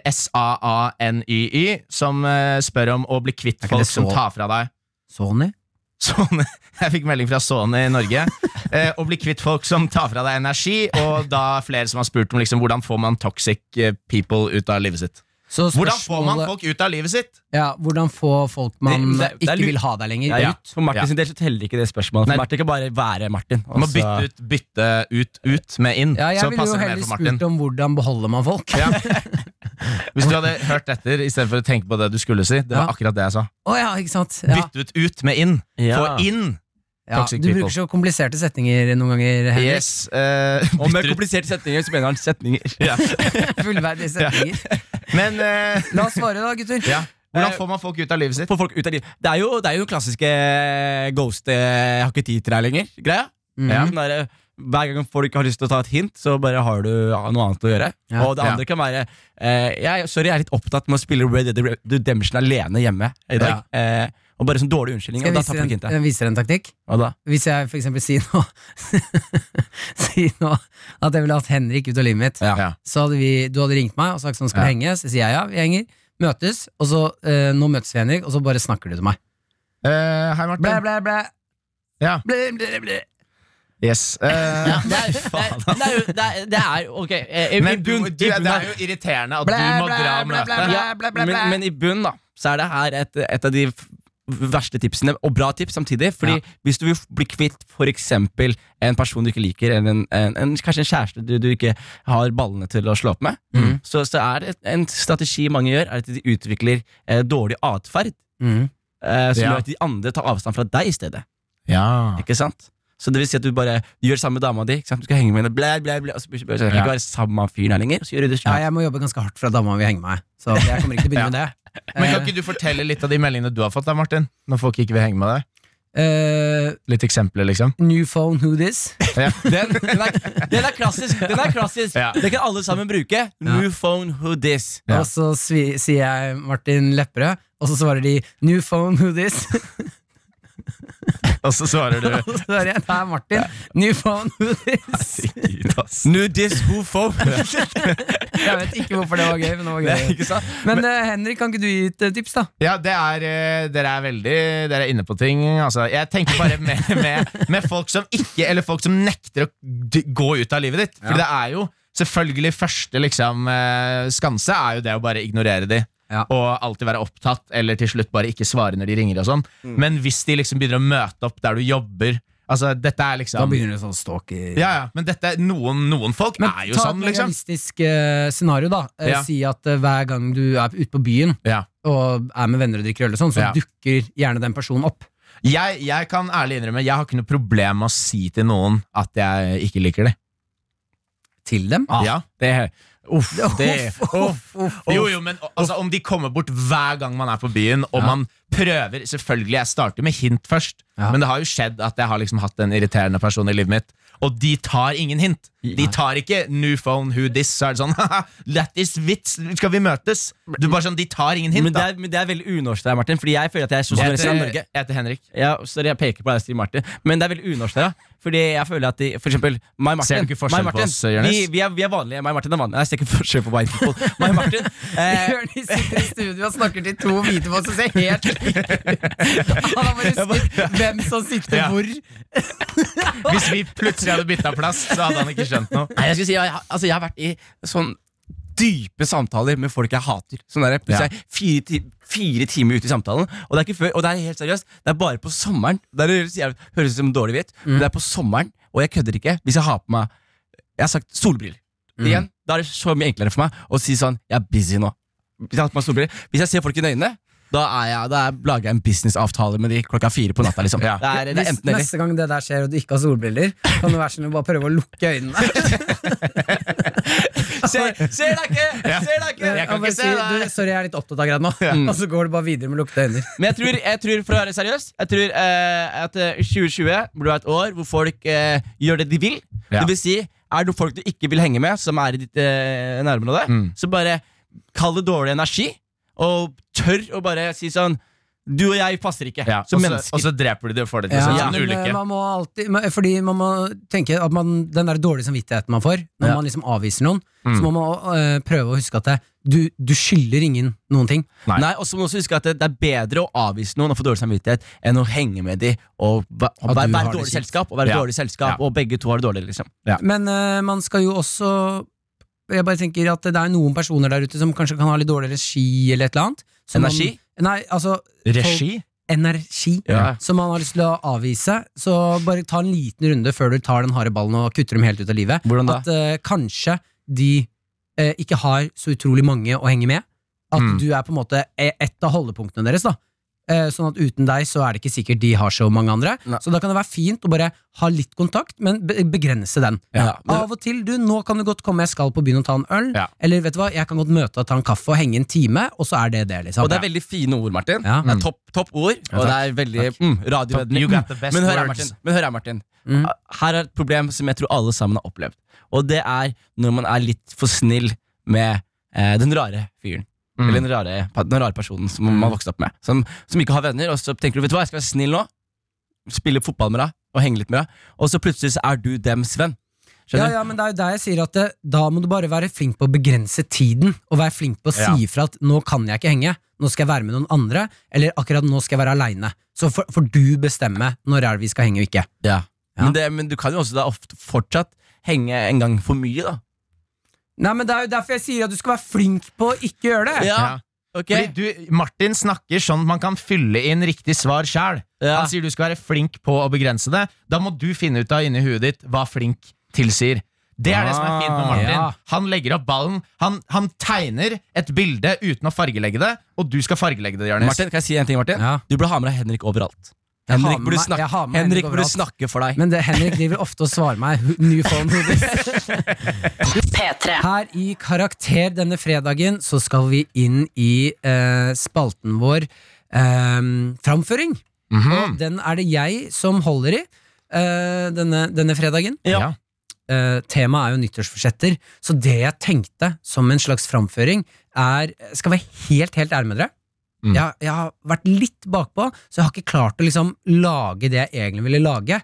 D: S-A-A-N-Y-Y, som eh, spør om å bli kvitt
C: ikke
D: folk
C: det
D: som
C: så-
D: tar fra deg
C: Sony?
D: Sony, jeg fikk melding fra Sony i Norge. Eh, å bli kvitt folk som tar fra deg energi, og da flere som har spurt om liksom, hvordan får man toxic eh, people ut av livet sitt.
C: Så
D: Hvordan får man
C: spørsmålet-
D: folk ut av livet sitt?
C: Ja, hvordan få folk man
B: Det- det- det er
C: ikke
B: lurt.
C: vil ha der lenger,
B: Ja, ja.
C: ut?
B: For Martin
D: Ja.
B: sin del så teller ikke det spørsmålet.
D: Nei.
B: For Martin kan bare være Martin. Altså-
D: Du må
B: og så-
D: bytte ut, bytte ut, ut med inn.
C: Altså- Ja, jeg
D: så
C: ville jo
D: passer det
C: heller
D: mer for Martin.
C: spurt om hvordan beholder man folk. Å ja.
D: Ja. Hvis du hadde hørt etter istedenfor å tenke på det du skulle si. Det var
C: Ja.
D: akkurat det jeg sa.
C: ikke sant? Ja.
D: Bytte ut ut med inn.
B: Ja.
D: Få inn
C: Ja,
D: Toxic
C: du bruker
D: people.
C: så kompliserte setninger noen ganger. Henrik.
D: Yes. eh,
B: Og med
D: bytter ut-
B: kompliserte setninger så mener han setninger.
C: Fullverdige setninger.
D: Men eh,
C: La oss svare, da, gutter.
D: ja. hvordan får man folk ut av livet sitt?
B: Få folk ut av livet. Det er jo, det er jo klassiske ghost eh, 'jeg har ikke tid til deg lenger'. Greia
C: Mhm.
B: ja. Mm. Den derre, Hver gang folk har lyst til å ta et hint, så bare har du ja, noe annet å gjøre.
C: Ja.
B: Og det andre kan være eh, jeg, 'Sorry, jeg er litt opptatt med å spille Red Dead Redemption alene hjemme i dag'. Eh, og bare sånn dårlig unnskyldning.
C: Skal
B: Og
C: jeg
B: da tar
C: vise
B: folk
C: en,
B: hintet.
C: jeg viser en taktikk?
B: Hva da?
C: Hvis jeg for eksempel sier nå Si nå at jeg ville hatt Henrik ut av livet mitt,
D: Ja.
C: så hadde vi, du hadde ringt meg og sagt sånn skal vi henge, så sier jeg ja, vi henger, møtes, og så eh, nå møtes vi, Henrik, og så bare snakker du til meg.
D: Eh, hei, Martin.
C: Blæ, blæ, blæ.
D: Ja.
C: Blæ, blæ, blæ.
D: Yes. eh,
B: Det er, jo det er, Ok.
D: men du, du, det er jo irriterende at
C: Blæ,
D: du må
C: blæ,
D: dra
C: blæ, blæ,
D: møtet.
C: blæ, blæ, blæ, blæ.
B: Men, men i bunn da Så er det her et, et av de f- verste tipsene Og bra tips samtidig Fordi hvis du vil bli kvitt for eksempel En person du ikke liker Eller en, en, en, kanskje en kjæreste du, du ikke har ballene til å slå opp med
D: Mm.
C: Mhm.
B: så, så er det en strategi mange gjør Er at de utvikler eh, dårlig atferd
C: Mhm.
B: eh, Som
D: Mm. Ja.
B: gjør at de andre tar avstand fra deg i stedet
D: Ja.
B: Ikke sant? Så det vil si at du bare du gjør det samme med dama di ikke sant? Du skal henge med henne Blæ, blæ, blæ Og så, blir- så, kan du ikke være sammen med fyren her lenger Og så gjør du det
C: Ja,
B: selv
C: jeg må jobbe ganske hardt for at dama vil henge med meg, så jeg kommer ikke til å begynne med det.
D: Men kan
C: Eh,
D: ikke du fortelle litt av de meldingene du har fått, da, Martin? Når folk ikke vil henge med deg?
C: eh,
D: Litt eksempler, liksom.
C: new phone, who this?
D: Ja.
B: Den, den, er, den er klassisk. Den er klassisk
D: Ja.
B: Det kan alle sammen bruke. New phone, who this?
D: Ja.
C: Og så svi, sier jeg Martin Lepperød, og så svarer de new phone, who this?
D: Og så svarer du
C: Og så svarer jeg det er Martin, new phone, who this?
D: Herregud, ass.
B: New this, who phone?
C: Jeg vet ikke hvorfor det var gøy, men det var
B: Det er
C: gøy.
B: ikke sant?
C: Men eh, Henrik, kan ikke du gi et eh, tips, da?
D: Ja, det er, eh, dere er veldig Dere er inne på ting. Altså, jeg tenker bare med, med, med folk som ikke Eller folk som nekter å d gå ut av livet ditt. For det er jo selvfølgelig første liksom, eh, skanse er jo det å bare ignorere de.
C: Ja.
D: Og alltid være opptatt, eller til slutt bare ikke svare når de ringer. og sånn
C: Mm.
D: Men hvis de liksom begynner å møte opp der du jobber Altså, dette er liksom
C: Da begynner det sånn stalker.
D: Ja, ja, men dette, noen, noen folk
C: Men
D: er jo
C: ta
D: sånn,
C: et
D: liksom.
C: realistisk eh, scenario, da. Eh,
D: Ja.
C: Si at eh, hver gang du er ute på byen
D: Ja.
C: og er med venner og drikker øl, og sånn, så
D: Ja.
C: dukker gjerne den personen opp.
D: Jeg, jeg kan ærlig innrømme Jeg har ikke noe problem med å si til noen at jeg ikke liker det.
C: Til dem?
D: Ah,
B: Ah,
D: Ja, det Uff, det
C: Uff, uff, uff.
D: Jo, jo, men altså, om de kommer bort hver gang man er på byen, og man prøver Selvfølgelig, jeg starter med hint først,
C: Ja.
D: men det har jo skjedd at jeg har liksom hatt en irriterende person i livet mitt, og de tar ingen hint. De tar ikke 'new phone, who this', så er det sånn haha, 'that is vits, skal vi møtes?' Du bare sånn, De tar ingen hint,
B: Men det,
D: da.
B: er, men det er veldig unorsk der, Martin. Fordi jeg føler at jeg er sånn
D: Jeg
B: sosialist i
D: heter,
B: Norge.
D: jeg heter Henrik.
B: Ja, sorry, jeg peker på deg, Stig Martin. Men det er veldig unorsk der, da. Fordi jeg føler at de, for eksempel meg og Martin,
D: Ser du ikke forskjell
B: meg
D: på
B: og Martin,
D: oss, Jonis?
B: Vi, vi, er, vi er vanlige. Meg og Martin er vanlige. Jeg ser ikke forskjell på white people. Meg og Martin eh,
C: Jonis sitter i studio og snakker til to hvite folk som ser helt like ut. Han har bare sett hvem som sitter
D: Ja.
C: hvor.
D: Hvis vi plutselig hadde bytta plass, så hadde han ikke skjønt noe.
B: Nei, jeg skulle si jeg, har- altså, jeg har vært i sånn dype samtaler med folk jeg hater. Sånn der, plutselig er jeg fire, ti fire timer ute i samtalen, og det er ikke før, og det er helt seriøst. Det er bare på sommeren. Det er, det jeg høres ut som dårlig vett,
D: Mm.
B: men det er på sommeren, og jeg kødder ikke hvis jeg har på meg Jeg har sagt solbriller.
D: Mm.
B: Igjen, Da er det så mye enklere for meg å si sånn Jeg er busy nå. Hvis jeg har på meg solbriller Hvis jeg ser folk i øynene, da, er jeg, da er- lager jeg en businessavtale med de klokka fire på natta. liksom
D: Ja.
B: Det er, det er
C: Hvis
B: enten eller.
C: neste gang det der skjer og du ikke har solbriller, kan du være sånn å bare prøve å lukke øynene.
B: Ser, ser deg ikke! Ser deg ikke!
D: Jeg kan
C: Og bare
D: ikke se
C: si,
D: deg.
C: du, Sorry, jeg er litt opptatt akkurat nå. Og så går du bare videre med lukkede øyne.
B: Men jeg tror, jeg tror for å være seriøs Jeg tror eh, at eh, 2020 blir et år hvor folk eh, gjør det de vil.
D: Ja.
B: Det vil si, er det noen folk du ikke vil henge med, som er i ditt eh, nærområde,
D: Mm.
B: så bare kall det dårlig energi, og tør å bare si sånn Du og jeg passer ikke
D: Ja,
B: som
D: og så- Og
B: mennesker.
D: så dreper du det og får det til
C: Ja,
D: å se ut
B: Ja.
D: som Altså, en
C: men, eh,
D: ulykke.
C: man må alltid, men- fordi man må tenke at man, den der dårlige samvittigheten man får når
B: Ja.
C: man liksom avviser noen,
D: Mm.
C: så må man eh, prøve å huske at det, du, du skylder ingen noen ting.
D: Nei.
B: Nei, og så må du også huske at det, det er bedre å avvise noen og få dårlig samvittighet enn å henge med dem og, va- og
C: At
B: være,
C: du
B: være
C: har det
B: dårlig
C: kjipt.
B: selskap. Og være
D: Ja.
B: dårlig selskap
D: Ja.
B: Og begge to har det dårlig. liksom
C: Men eh, man skal jo også Jeg bare tenker at det er noen personer der ute som kanskje kan ha litt dårlig regi eller et eller annet. som
B: Energi?
C: Man, nei, altså
D: Regi?
C: Energi.
B: Ja.
C: Som man har lyst til å avvise. Så bare ta en liten runde før du tar den harde ballen og kutter dem helt ut av livet.
B: Hvordan da?
C: At eh, kanskje de eh, ikke har så utrolig mange å henge med. At
D: Mm.
C: du er på en måte e- et av holdepunktene deres. da eh, Sånn at uten deg så er det ikke sikkert de har så mange andre. Så da kan det være fint å bare ha litt kontakt, men be- begrense den.
D: Ja.
C: Av og til, du, nå kan du godt komme, jeg skal på byen og ta en øl.
D: Ja.
C: Eller vet du hva, jeg kan godt møte deg, ta en kaffe og henge en time, og så er det det, liksom.
B: Og det er veldig fine ord, Martin.
C: Ja.
D: Mm.
B: Det er topp, topp ord, og det er veldig mm,
D: Top-
B: radioveddende.
D: you got the best
B: Men hør her,
D: words.
B: Martin. Men hør her, Martin.
C: Mm.
B: her er et problem som jeg tror alle sammen har opplevd. Og det er når man er litt for snill med eh, den rare fyren.
D: Mm.
B: Eller den rare, den rare personen som man vokste opp med. Som, som ikke har venner, og så tenker du vet du hva, jeg skal være snill nå. Spille fotball med deg og henge litt med deg. Og så plutselig så er du dems venn.
C: Ja,
B: Skjønner?
C: ja, men det er jo der jeg sier at eh, da må du bare være flink på å begrense tiden, og være flink på å si ifra at 'nå kan jeg ikke henge', 'nå skal jeg være med noen andre', eller 'akkurat nå skal jeg være aleine'. Så får får du bestemme når er det vi skal henge og ikke.
B: Ja.
C: Ja.
B: Men, det, men du kan jo også da ofte fortsatt henge en gang for mye, da.
C: Nei, men Det er jo derfor jeg sier at du skal være flink på å ikke gjøre det.
B: Ja,
D: Ja.
B: ok
D: Fordi du, Martin snakker sånn at man kan fylle inn riktig svar sjæl.
B: Ja.
D: Han sier du skal være flink på å begrense det. Da må du finne ut av inni huet ditt hva flink tilsier. Det er det som er fint med Martin.
C: Ah, ja.
D: Han legger opp ballen. Han, han tegner et bilde uten å fargelegge det, og du skal fargelegge det, Jonis.
B: Martin, kan jeg si en ting, Martin?
C: Ja.
B: Du burde ha med deg Henrik overalt.
C: Jeg har
B: Henrik
C: med
B: burde
C: meg-
B: snakke,
C: jeg har med
B: Henrik
C: Henrik
B: burde
C: overalt.
B: snakke for deg.
C: Men det, Henrik driver ofte og svarer meg "Who- New phone movies
F: P3.
C: Her i Karakter denne fredagen Så skal vi inn i eh, spalten vår eh, Framføring
D: Mhm.
C: Og den er det jeg som holder i eh, denne, denne fredagen
D: Ja.
C: Eh, Temaet er jo nyttårsforsetter Så det jeg tenkte som en slags framføring Er, skal være helt, helt ærlig med dere
D: Mm.
C: jeg, jeg har vært litt bakpå Så jeg har ikke klart å liksom lage det jeg egentlig ville lage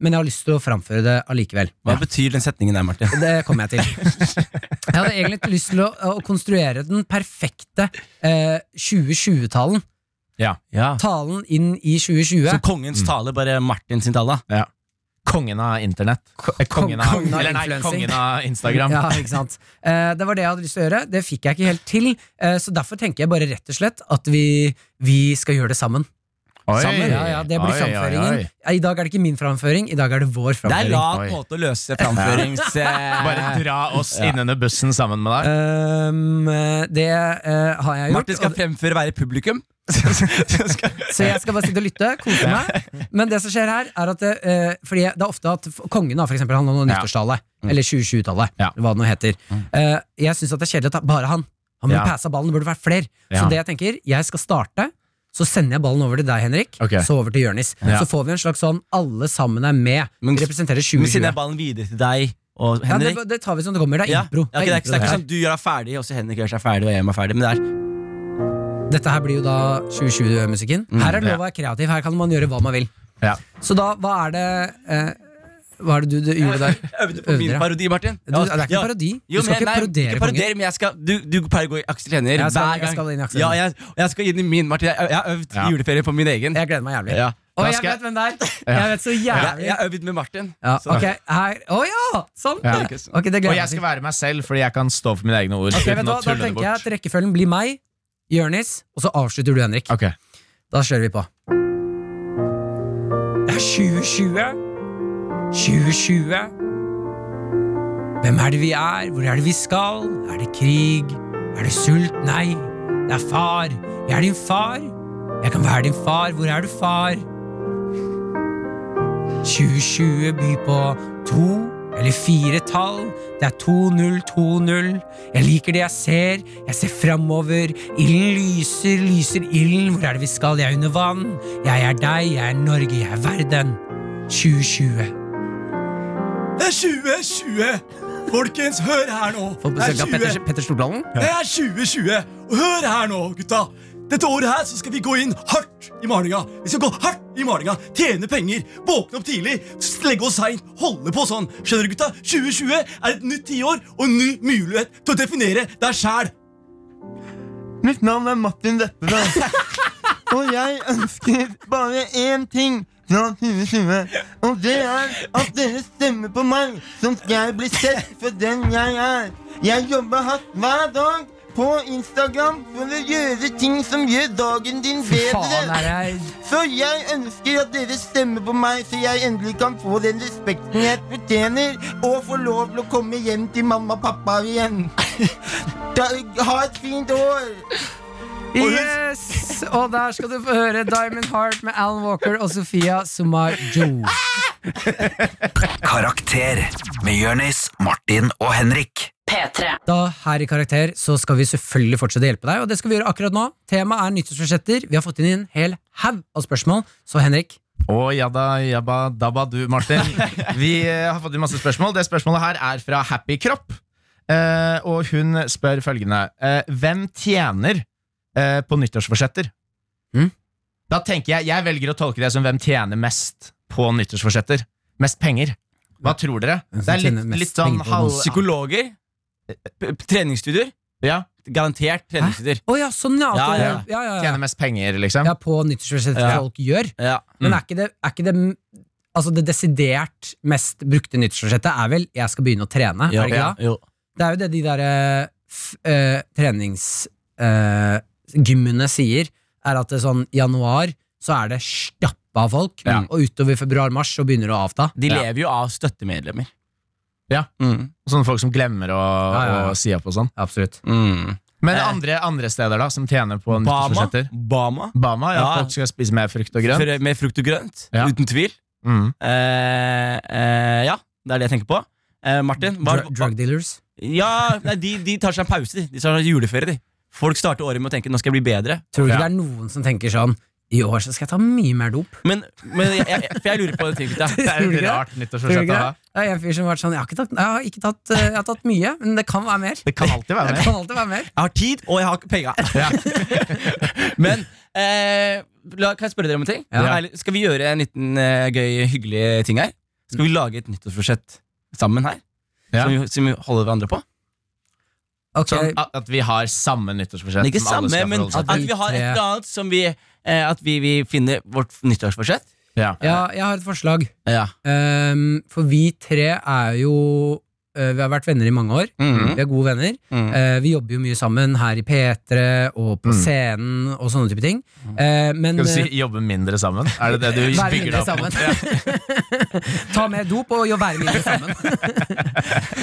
C: Men jeg har lyst til å framføre det allikevel
B: Hva betyr den setningen der, Martin?
C: det kommer jeg til. Jeg hadde egentlig ikke lyst til å, å konstruere den perfekte eh, 2020-talen.
B: Ja.
C: Talen inn i 2020.
B: Som kongens
C: Mm.
B: tale, bare Martin sin tale. da.
D: Kongen av internett. Eh, Kongen av,
C: kongen av
D: eller nei,
C: influencing.
D: kongen av Instagram.
C: Ja, ikke sant? Eh, det var det jeg hadde lyst til å gjøre. Det fikk jeg ikke helt til. Eh, så derfor tenker jeg bare rett og slett at vi, vi skal gjøre det sammen.
D: Oi.
C: sammen. Ja, ja, det blir
D: Oi, oi,
C: framføringen.
D: oi.
C: Eh, I dag er det ikke min framføring, i dag er det
B: Det
C: vår
B: er
C: framføring.
B: lav
D: Oi.
B: måte å løse framførings... eh,
D: Bare dra oss inn under bussen sammen med deg.
C: Um, eh, det eh, har jeg gjort.
B: Martin skal fremføre å være publikum.
C: Så jeg skal bare sitte og lytte, kose meg. Men det som skjer her, er at eh, Fordi jeg- det er ofte at f- kongen har for eksempel, han har noe
D: Ja.
C: nyttårstallet.
B: Mm.
C: Eller 2020-tallet,
D: Ja.
C: hva det nå heter. Eh, jeg syns det er kjedelig at det er bare han. Han burde
D: Ja.
C: passe ballen, det burde vært flere. Så
D: Ja.
C: det jeg tenker, jeg skal starte. Så sender jeg ballen over til deg, Henrik.
D: Ok.
C: Så over til Jørnis.
D: Ja.
C: Så får vi en slags sånn alle sammen er med.
B: Men-
C: Vi representerer
B: Men siden
C: 2020.
B: jeg ballen videre til deg og
C: Ja, det,
B: Henrik
C: det tar vi som det kommer. Det er
B: Ja,
C: impro.
B: ja, ok, det er ikke, det er
C: impro,
B: ikke
C: det
B: sånn Du gjør deg ferdig, og så Henrik gjør seg ferdig, og jeg gjør meg ferdig. Men det er
C: her. Dette
B: sånn-
C: her blir jo da 2020-musikken.
B: Mm,
C: Her er det lov å være kreativ. Her kan man gjøre hva man vil.
D: Ja.
C: Så da, hva er det eh, Hva er det du, du gjorde der?
B: Øvde på min
C: Øvde, ja.
B: parodi, Martin.
C: Du, det er ikke en parodi. Du skal ikke parodere
B: ikke
C: kongen.
B: parodere, men jeg skal, du, du pleier å gå i Aksel Hennie
C: Jeg
B: hver
C: skal-
B: gang.
C: jeg skal inn i Aksel
B: ja,
C: Hennie.
B: jeg, og jeg skal inn i min, Martin. Jeg, jeg har øvd
D: Ja.
B: juleferie på min egen.
C: Jeg gleder meg jævlig.
B: Ja.
C: Å,
D: Da
C: jeg
D: skal
C: vet hvem det er! Jeg vet så
B: Jeg,
C: jævlig
B: jeg har øvd med Martin.
C: ja,
B: Så-
C: Ok, her Å ja! Sånn!
D: Sånn. Ja.
C: ja. Ok, det
D: Og
C: gleder
D: jeg skal
C: jeg meg til.
D: være meg selv, fordi jeg kan stå for mine egne ord.
C: Ok, vet
D: uten
C: du
D: å
C: hva, Da
D: tulle det
C: tenker jeg
D: bort.
C: at rekkefølgen blir meg, Jørnis, og så avslutter du, Henrik.
D: Ok.
C: Da kjører vi på. Det er 2020. 2020. Hvem er det vi er? Hvor er det vi skal? Er det krig? Er det sult? Nei, det er far. Jeg er din far. Jeg kan være din far. Hvor er du, far? 2020 byr på to eller fire tall. Det er 2020. Jeg liker det jeg ser. Jeg ser framover. Ilden lyser, lyser ilden. Hvor er det vi skal? Jeg er under vann. Jeg er deg, jeg er Norge, jeg er verden. 2020.
B: Det er 2020! Folkens, hør her nå.
C: Fått besøk av Petter, Petter Stordalen.
B: Det er 2020. Og hør her nå, gutta. Dette året her så skal vi gå inn hardt i malinga. Vi skal gå hardt i malinga, tjene penger, våkne opp tidlig, legge oss seint, holde på sånn. Skjønner du, gutta? 2020 er et nytt tiår og en ny mulighet til å definere deg sjæl.
G: Mitt navn er Martin Lepperød. og jeg ønsker bare én ting fra 2020. Og det er at dere stemmer på meg, sånn at jeg blir sett for den jeg er. Jeg jobber hardt hver dag på Instagram for å gjøre ting som gjør dagen din
C: Faen,
G: bedre.
C: er jeg
G: Så jeg ønsker at dere stemmer på meg, så jeg endelig kan få den respekten jeg fortjener, og få lov til å komme hjem til mamma og pappa igjen. Da, ha et fint år!
C: Yes! Og der skal du få høre Diamond Heart med Alan Walker og Sofia Sumajo.
A: Karakter med Jørnis, Martin og Henrik.
F: P3.
C: Da her i Karakter så skal vi selvfølgelig fortsette å hjelpe deg, og det skal vi gjøre akkurat nå. Temaet er nyttårsforsetter. Vi har fått inn en hel haug av spørsmål, så Henrik
D: Og jadda, jabba, dabba du, Martin. Vi eh, har fått inn masse spørsmål. Det spørsmålet her er fra Happy Kropp. Eh, og hun spør følgende eh, Hvem tjener eh, på nyttårsforsetter?
C: Mm.
D: Da tenker jeg Jeg velger å tolke det som hvem tjener mest på nyttårsforsetter. Mest penger. Hva tror dere?
C: Hvem
D: Det er
C: tjener
D: litt,
C: mest
D: litt sånn
C: penger på
D: halv...
B: Psykologer? P- p- Treningsstudier?
D: Ja,
B: Garantert treningsstudier.
C: Å ja, sånn ja!
B: Ja,
C: at-
B: ja.
C: ja, ja, ja.
D: tjener mest penger, liksom.
C: ja på nyttårsforsetter
B: Ja.
C: folk gjør.
B: Ja.
C: Men er ikke det, er ikke det Altså det desidert mest brukte nyttårsforsettet er vel 'jeg skal begynne å trene'. er det, ikke det?
B: Jo.
C: det er jo det de der eh, f- eh, treningsgymmene sier, er at det er sånn januar så er det stappa av folk,
D: Ja.
C: og utover februar-mars så begynner det å avta.
B: De
D: Ja.
B: lever jo av støttemedlemmer.
D: Ja.
B: Mm.
D: Sånne folk som glemmer å,
C: Ja, ja, ja.
D: å si opp og sånn.
C: Absolutt.
B: Mm.
D: Men
B: Eh.
D: andre, andre steder, da, som tjener på
B: Bama.
D: nyttårsforsetter?
B: Bama.
D: Bama, ja,
B: Ja.
D: Folk skal spise mer frukt og grønt.
B: Fr- Med frukt og grønt.
D: Ja.
B: Uten tvil.
D: Mm.
B: Eh, eh, ja, det er det jeg tenker på. Eh, Martin? Hva,
C: Dr drug dealers.
B: ja, nei, de, de tar seg en pause. De De tar seg en juleferie. de Folk starter året med å tenke 'nå skal jeg bli bedre'.
C: Tror du ikke
D: Ja.
C: det er noen som tenker sånn I år så skal jeg ta mye mer dop.
B: Men, men jeg, jeg, for jeg lurer på en ting. gutta.
D: Det er
C: Tror du
D: et
C: ikke det?
D: rart
C: Tror du
D: nyttårsforsett å
C: ikke det?
D: ha.
C: Det er en fyr som har vært sånn Jeg har, ikke tatt, jeg har, ikke tatt, eh, jeg har tatt mye, men det kan være mer.
D: Det kan alltid være
C: Det
D: med.
C: kan alltid være mer.
B: Jeg har tid, og jeg har ikke penga. Men eh, la, kan jeg spørre dere om en ting?
C: Ja.
B: Ærlig, Skal vi gjøre en liten eh, gøy, hyggelig ting her? Skal vi lage et nyttårsforsett sammen her?
D: Ja.
B: Som, vi, som vi holder hverandre på?
C: Ok,
D: Sånn at, at vi har samme nyttårsforsett.
B: Men ikke
D: som alle
B: samme,
D: skal
B: men
D: forholde seg
B: at,
D: til.
C: til.
B: vi har et
C: Ja.
B: eller annet som vi eh, At vi, vi finner vårt nyttårsforsett.
D: Ja.
C: ja, jeg har et forslag.
B: Ja.
C: Ehm, for vi tre er jo eh, Vi har vært venner i mange år.
B: Mhm.
C: Vi er gode venner.
D: Mhm.
B: Mm.
C: Eh, vi jobber jo mye sammen her i P3 og på
D: Mm.
C: scenen og sånne type ting. Eh, men
D: Mhm. Skal du si
C: eh,
D: jobbe mindre sammen? Er det det du
C: være
D: bygger det
C: mindre
D: opp mot?
C: sammen. Ta mer dop og jo være mindre sammen.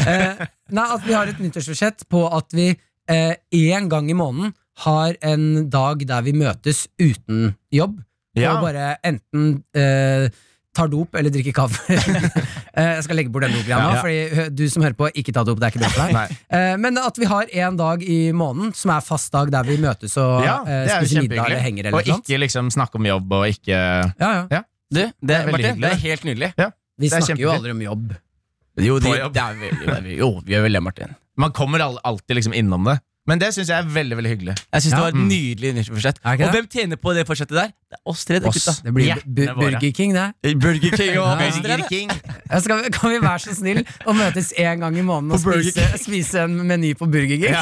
C: eh, nei, at vi har et nyttårsforsett på at vi én gang i måneden har en dag der vi møtes uten jobb.
D: Ja.
C: Og bare enten eh, tar dop eller drikker kaffe. Eh, Jeg skal legge bort den dopgreia nå,
D: Ja.
C: fordi hø, du som hører på, ikke ta dop. Det er ikke bra for
D: Nei.
C: deg. Eh, Men at vi har en dag i måneden som er fast dag der vi møtes og
D: Ja,
C: eh,
D: det er jo
C: spiser middag eller
D: kjempehyggelig.
C: henger eller
D: Og
C: noe sånt.
D: ikke liksom snakke om jobb og ikke
C: Ja, ja.
B: Du, det,
D: er veldig
B: Martin,
D: hyggelig, det.
B: det er helt nydelig.
C: Vi
D: Det er
C: snakker jo
D: kjempefint.
C: aldri om jobb.
B: Jo,
D: På
B: de,
D: jobb.
B: det er veldig, veldig, jo, vi gjør vel det, Martin.
D: Man kommer al- alltid liksom innom det. Men det syns jeg er veldig veldig hyggelig.
B: Jeg syns
C: Ja.
B: det var et nydelig nyttårsforsett.
C: Er ikke
B: Og
C: det?
B: hvem tjener på det forsettet der? Det er oss tre. det,
D: Oss.
B: gutta.
C: Det blir
D: Hjertene
C: bu
D: våre.
C: Burger King, det.
B: Eh, Burger King og
C: Ja.
B: Burger King.
C: Ja, så kan, vi, kan vi være så snill å møtes én gang i måneden og
B: På Burger
C: spise, spise en meny på Burger
D: Ja.
C: King?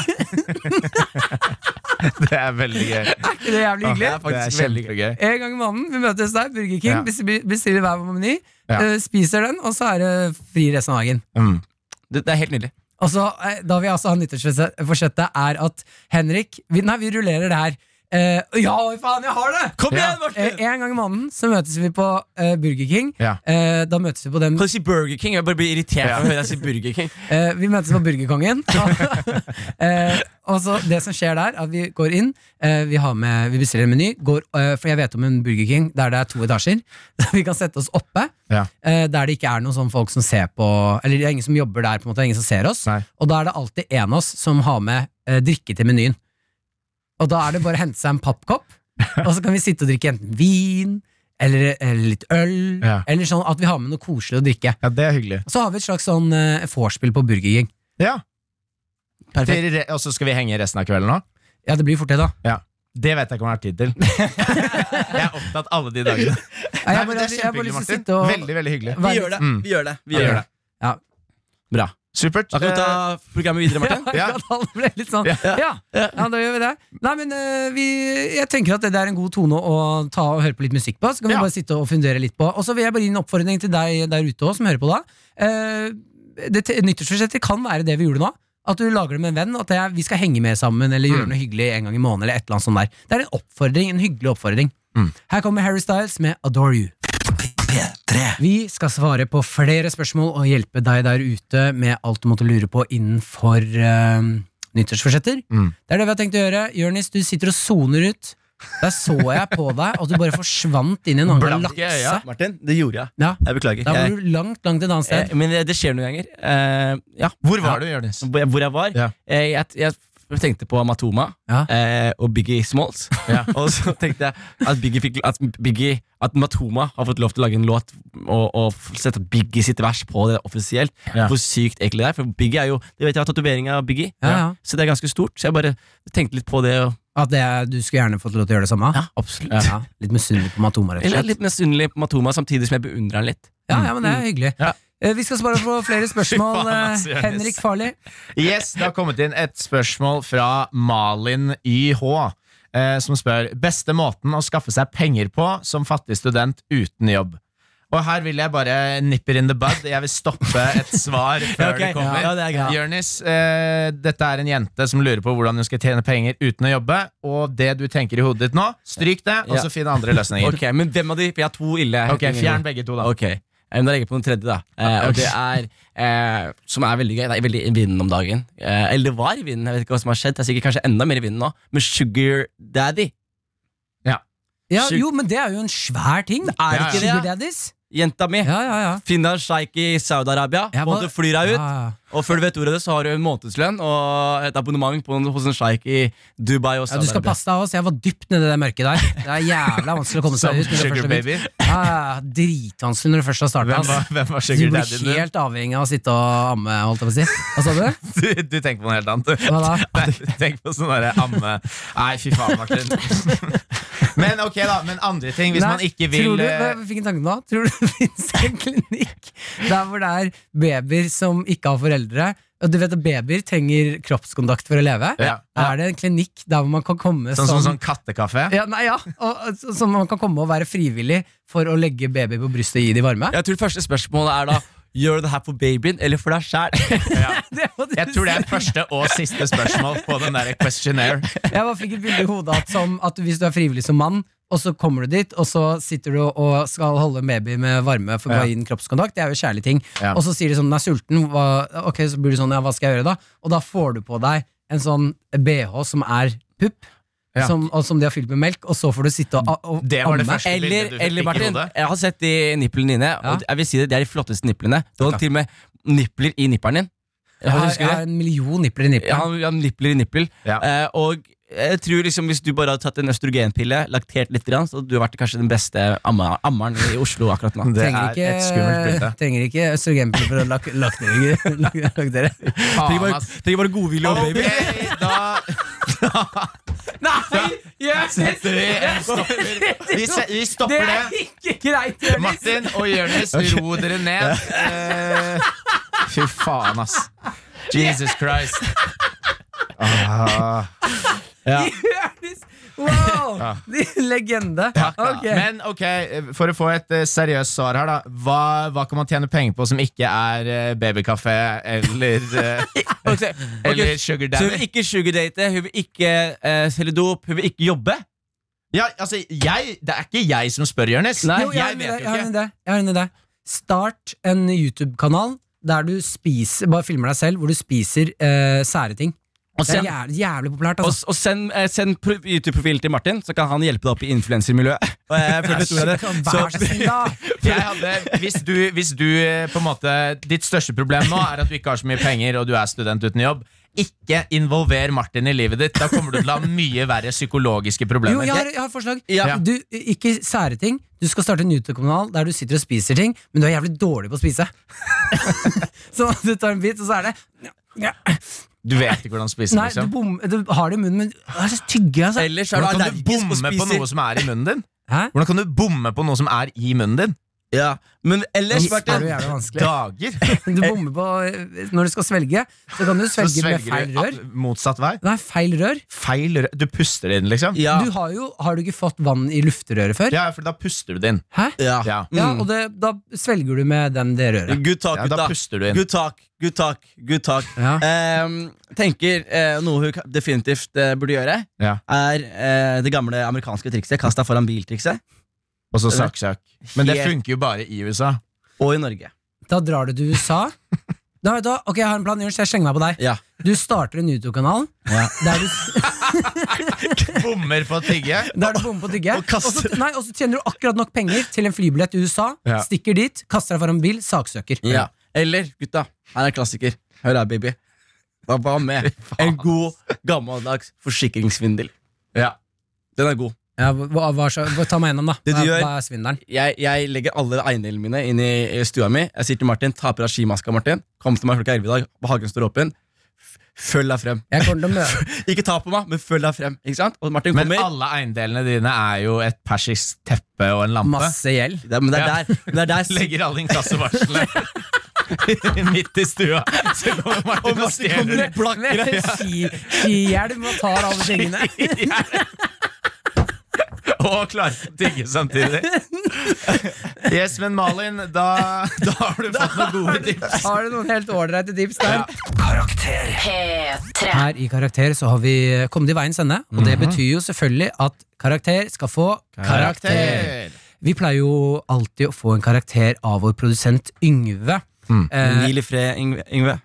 D: Det er veldig gøy.
C: Er ikke det jævlig hyggelig?
D: Det er faktisk kjempegøy.
C: En gang i måneden. Vi møtes der. Burger King.
D: Ah. Ja.
C: besti- Bestiller hver vår meny.
D: Ja.
C: eh, Spiser den, og så er det fri resten av dagen.
D: Mm.
B: Det, det er helt nydelig.
C: Og så, eh, Da vi altså har nyttårsforsettet, er at Henrik vi, Nei, vi rullerer det her. Eh, ja, oi faen, jeg har det!
B: Kom
D: Ja.
B: igjen,
C: Eh,
B: Martin!
C: en gang i måneden så møtes vi på eh, Burger King.
D: Ja.
C: Eh, da møtes vi på den
B: Kan du si Burger King? Jeg bare blir irritert når jeg hører deg si Burger King.
C: Eh, vi møtes på Burgerkongen. eh, og så det som skjer der, at vi går inn, eh, vi, har med, vi bestiller en meny. Går, eh, for jeg vet om en Burger King der det er to etasjer. Så vi kan sette oss oppe,
D: Ja.
C: eh, der det ikke er noen sånne folk som ser på Eller det er ingen som jobber der, på en måte, det er ingen som ser oss.
D: Nei.
C: Og da er det alltid en av oss som har med eh, drikke til menyen. Og da er det bare å hente seg en pappkopp, og så kan vi sitte og drikke enten vin eller, eller litt øl,
D: Ja.
C: eller sånn at vi har med noe koselig å drikke.
D: Ja, det er hyggelig.
C: Så har vi et slags sånn eh, vorspiel på Burger King.
D: Ja.
B: Perfekt.
D: Dere- Og så skal vi henge resten av kvelden nå?
C: Ja, det blir fort det, da.
D: Det vet jeg ikke om jeg har tid til. jeg er opptatt alle de dagene.
C: Nei,
D: Nei,
C: jeg
D: men det er
C: bare, jeg bare
D: kjempehyggelig,
C: lyst til å
D: Martin.
C: sitte og
D: Veldig, veldig hyggelig.
B: Vi gjør det.
D: Mm.
B: Vi gjør det. Vi
D: Ja,
B: gjør
D: gjør
B: det.
D: det.
C: Ja.
B: Bra.
D: Supert.
B: Da kan du ta programmet videre, Martin.
C: Ja,
D: Ja.
C: alle ble litt sånn. ja. Ja. da gjør vi det. Nei, men eh, vi, jeg tenker at det er en god tone å ta og høre på litt musikk på. Så kan vi
D: Ja.
C: bare sitte og fundere litt på. Og så vil jeg bare gi en oppfordring til deg der ute også, som hører på da. Eh, det te- Nyttårsforsettet kan være det vi gjorde nå. At du lager det med en venn. At det er, vi skal henge med sammen eller gjøre noe hyggelig en gang i måneden. Eller et eller annet sånt der. Det er en oppfordring, en hyggelig oppfordring.
D: Mm.
C: Her kommer Harry Styles med Adore You.
A: P3.
C: Vi skal svare på flere spørsmål og hjelpe deg der ute med alt du måtte lure på innenfor eh, nyttårsforsetter.
D: Mm.
C: Det er det vi har tenkt å gjøre. Jørnis, du sitter og soner ut. Der så jeg på deg at du bare forsvant
D: Eh,
C: inn i en annen
B: Blanke
C: lakse.
B: øya. Martin, det gjorde jeg.
C: Ja,
B: Jeg beklager.
C: da var
B: Jeg,
C: du langt, langt et annet sted.
B: jeg, men det, det skjer noen ganger. Eh, ja.
D: Hvor var du, Jonis?
B: Hvor jeg, hvor jeg var?
D: Ja.
B: Eh, jeg, jeg, tenkte på Matoma
C: Ja.
B: eh, og Biggie Smalls. og så tenkte jeg at, Biggie fikk, at, Biggie, at Matoma har fått lov til å lage en låt og, og sette Biggie sitt vers på det offisielt.
D: Ja.
B: Hvor sykt egentlig det er. For Biggie er jo Det vet jeg har tatovering av Biggie,
C: Ja, ja.
B: så det er ganske stort. Så jeg bare tenkte litt på det. Og,
C: At det, du skulle gjerne fått lov til å gjøre det samme?
B: ja, absolutt.
C: Ja, litt misunnelig på Matoma, rett og
B: Eller
C: slett.
B: litt misunnelig på Matoma, samtidig som jeg beundrer han litt.
C: Ja, ja, men det er hyggelig.
D: Ja.
C: Eh, Vi skal svare på flere spørsmål.
D: Fy faen, ass,
C: eh,
D: Jonis.
C: Henrik Farli.
D: Yes, Det har kommet inn et spørsmål fra Malin YH, eh, som spør Beste måten å skaffe seg penger på som fattig student uten jobb? Og her vil jeg bare nipper in the bud. Jeg vil stoppe et svar før
B: Ok,
D: det kommer.
B: ja, det er greit.
D: Jørnis, eh, dette er en jente som lurer på hvordan hun skal tjene penger uten å jobbe. Og det du tenker i hodet ditt nå, stryk det, og
B: Ja.
D: så finn andre løsninger.
B: Ok, Men hvem av de? For jeg har to ille.
D: Ok, Fjern begge to, da.
B: Ok, eh, men Da legger jeg på den tredje, da. Eh, og det er eh, Som er veldig gøy. Det er veldig i vinden om dagen. Eh, eller det var i vinden. Jeg vet ikke hva som har skjedd. Det er sikkert kanskje enda mer i vinden nå. Men Sugar Daddy.
C: Ja,
B: Sykt.
C: jo, men det er jo en svær ting.
B: er
D: ikke det,
C: Sugar
B: ja.
C: Daddies?
B: Jenta mi.
C: Ja, ja, ja.
B: Finner en sjeik i Saudi-Arabia.
C: Ja,
B: Både
C: hva-
B: flyr deg ut,
C: Ja, ja.
B: og før du vet ordet av det, så har du en månedslønn og et abonnement på, hos en sjeik i Dubai og
C: Ja, du skal
B: Saudi-Arabia.
C: passe deg, ass. Jeg var dypt nedi det mørket der. Det er jævla vanskelig å komme seg
D: Som
C: ut. når du
D: sugar
C: først har begynt.
D: baby.
C: Ja, ja, dritvanskelig når du først har starta.
D: Hvem var, hvem var
C: Du
D: sugar
C: blir
D: daddy din?
C: helt avhengig av å sitte og amme, holdt jeg på å si. Hva sa du?
D: Du, du tenker på noe helt annet. du.
C: Hva da?
D: Nei, Tenk på sånn derre amme Nei, fy faen, Martin. Men ok, da. Men andre ting. Hvis
C: Nei,
D: man ikke vil
C: tror du,
D: eh,
C: jeg fikk en tanke nå Tror du det finnes en klinikk der hvor det er babyer som ikke har foreldre? Og du vet at Babyer trenger kroppskontakt for å leve.
D: Ja.
C: Er det en klinikk der hvor man kan komme
D: Sånn som
C: som
D: sånn, kattekaffe.
C: ja, nei, ja. Og, og, så- som man kan komme og være frivillig for å legge baby på brystet og gi de varme?
B: Jeg tror første spørsmålet er da Gjør du det her for babyen eller for deg sjæl?
C: Det må du
D: Jeg tror det er første og siste spørsmål på den der questionnaire.
C: Jeg bare fikk et bilde i hodet at, som, at hvis du er frivillig som mann, og så kommer du dit, og så sitter du og skal holde en baby med varme for å
D: Ja.
C: gi den kroppskontakt. Det er jo kjærlige ting.
D: Ja.
C: Og så sier de sånn, den er sulten. Hva, ok, så blir du sånn, ja, hva skal jeg gjøre da? Og da får du på deg en sånn BH som er pupp,
D: Ja.
C: som, og som de har fylt med melk, og så får du sitte og, og
D: Det var det
C: amme.
D: første. bildet
B: Eller,
D: du fikk i
B: eller Martin,
D: hodet.
B: jeg har sett de nipplene dine. Og jeg vil si det, Det er de flotteste nipplene. Du har til og med nipler i nipperen din.
C: Jeg har,
B: Husker
C: jeg
B: du
C: har
B: det?
C: en million nipler
B: Ja,
C: i nippelen.
B: han, han nippler i nippel.
D: Ja.
B: Eh, og jeg tror liksom Hvis du bare hadde tatt en østrogenpille, laktert litt, grann, så hadde du vært kanskje den beste amma- ammeren i Oslo akkurat nå.
D: Det
C: Trenger
D: er
C: ikke,
D: et skummelt bilde.
C: trenger ikke østrogenpiller for å lak- laktere. laktere.
B: Trenger
D: Faen,
B: bare,
D: ass.
B: trenger bare godvilje og baby.
D: Ok, da
C: Nei!
D: setter vi en stopper. Vi, se, vi stopper det.
C: ikke greit, Jonis!
D: Martin og Jonis, ro dere ned. Eh, Fy faen, ass. Jesus Christ. Ah.
C: Jonis! Wow! Legende.
D: Takk, da.
C: Ok.
D: Men eh, ok, for å få et eh, seriøst svar her, da. Hva, hva kan man tjene penger på som ikke er eh, babykaffe eller, eh,
B: Ok,
D: eller sugar
B: ok. Så hun vil
D: daddy?
B: ikke sugardate, hun vil ikke eh, selge dop, hun vil ikke jobbe.
D: Ja, altså, jeg, det er ikke jeg som spør, Jonis.
B: Nei,
C: Jo,
D: Jeg
C: jeg, har en idé,
D: vet
C: jeg
D: jo
C: har en
D: ikke.
C: idé. Jeg har en idé. Start en YouTube-kanal der du spiser Bare filmer deg selv hvor du spiser eh, sære ting.
B: Og
C: Det er
B: send,
C: jævlig, jævlig populært,
B: og,
C: altså.
B: og send, eh, send pro- YouTube-profilen til Martin, så kan han hjelpe deg opp i influensermiljøet. Og jeg føler at ordet er det.
C: Vær så snill, da!
D: Jeg hadde, hvis du, hvis du eh, på en måte Ditt største problem nå er at du ikke har så mye penger og du er student uten jobb. Ikke involver Martin i livet ditt. Da kommer du til å ha mye verre psykologiske
C: Jo,
D: problemer.
C: jeg har, jeg har et forslag.
D: Ja.
C: Du, ikke sære ting. Du skal starte en YouTube-kanal der du sitter og spiser ting, men du er jævlig dårlig på å spise. så du tar en bit, og så er det
D: Du vet ikke hvordan spise,
C: Nei, du,
D: liksom.
C: bom, du har det i munnen, men Hva er det så tygge, altså?
B: Ellers er du
D: Hvordan kan du
B: allergisk og
D: bomme på noe
B: spiser
D: som er i munnen din?
C: Hæ?
D: Hvordan kan du bomme på noe som er i munnen din?
B: ja. Men ellers,
C: Yes, er
B: Martin
C: du jævlig vanskelig.
D: Dager!
C: Du bommer på eh, Når du skal svelge, så kan du
D: Så
C: svelge med feil
D: du
C: rør.
D: at- motsatt vei.
C: Nei, feil rør.
D: Feil rør. Du puster det inn, liksom?
B: ja,
C: Du har jo Har du ikke fått vann i lufterøret før?
D: Ja, for da puster du det inn.
C: Hæ?
B: ja.
D: Ja.
B: Mm.
C: Ja, og det, da svelger du med den det røret.
B: Good talk,
D: Ja,
B: gutta.
D: da puster du inn.
B: Good talk, good talk, good talk.
C: Ja.
B: Ehm, tenker eh, Noe hun ka- definitivt eh, burde gjøre,
D: Ja.
B: er eh, det gamle amerikanske trikset. Kast deg foran bil-trikset.
D: Og så sakk, sakk. Men det
B: Helt-
D: funker jo bare i USA.
B: Og i Norge.
C: Da drar du til USA, Da, da, ok, jeg har en plan. Jørgen, så Jeg slenger meg på deg.
B: Ja.
C: Du starter en YouTube-kanal der, du-
D: Bommer på å tigge.
C: der du bommer på Tygge.
B: Og kaster-
C: så- nei, og så tjener du akkurat nok penger til en flybillett til USA.
B: Ja.
C: Stikker dit, kaster deg foran bil, saksøker.
B: Ja. Eller, gutta, her er en klassiker. Hør her, baby. Hva hva med en god, gammeldags forsikringssvindel? Ja. Den er god.
C: Ja, hva, hva, så- hva, ta meg gjennom, da.
B: Det du
C: Hva,
B: gjør-
C: hva er svindelen?
B: Jeg, jeg legger alle eiendelene mine inn i i stua mi. Jeg sier til Martin, ta på deg skimaska, Martin. Kom til meg klokka 11 i dag. Hagen står åpen. F- Følg deg frem.
C: Jeg kommer til å møte
B: Ikke ta på meg, men følg deg frem. Ikke sant? Og Martin
D: Men
B: kommer.
D: alle eiendelene dine er jo et persisk teppe og en lampe.
C: masse gjeld.
B: Det er- men det er
D: Ja.
B: der. Men det er der
D: Legger alle inkassovarslene midt i stua. Så kommer Martin og, stjeler det.
C: Med ski- Skihjelm og tar alle tingene.
D: Og klarer å tigge samtidig. Yes, men Malin, da, da har du fått noen gode tips.
C: Har du noen helt ålreite tips der?
A: Karakter.
F: P3.
C: Her i Karakter så har vi kommet i veiens ende, og det betyr jo selvfølgelig at karakter skal få karakter. Vi pleier jo alltid å få en karakter av vår produsent Yngve. Eh,
B: Hvil i fred, Yngve. Yngve.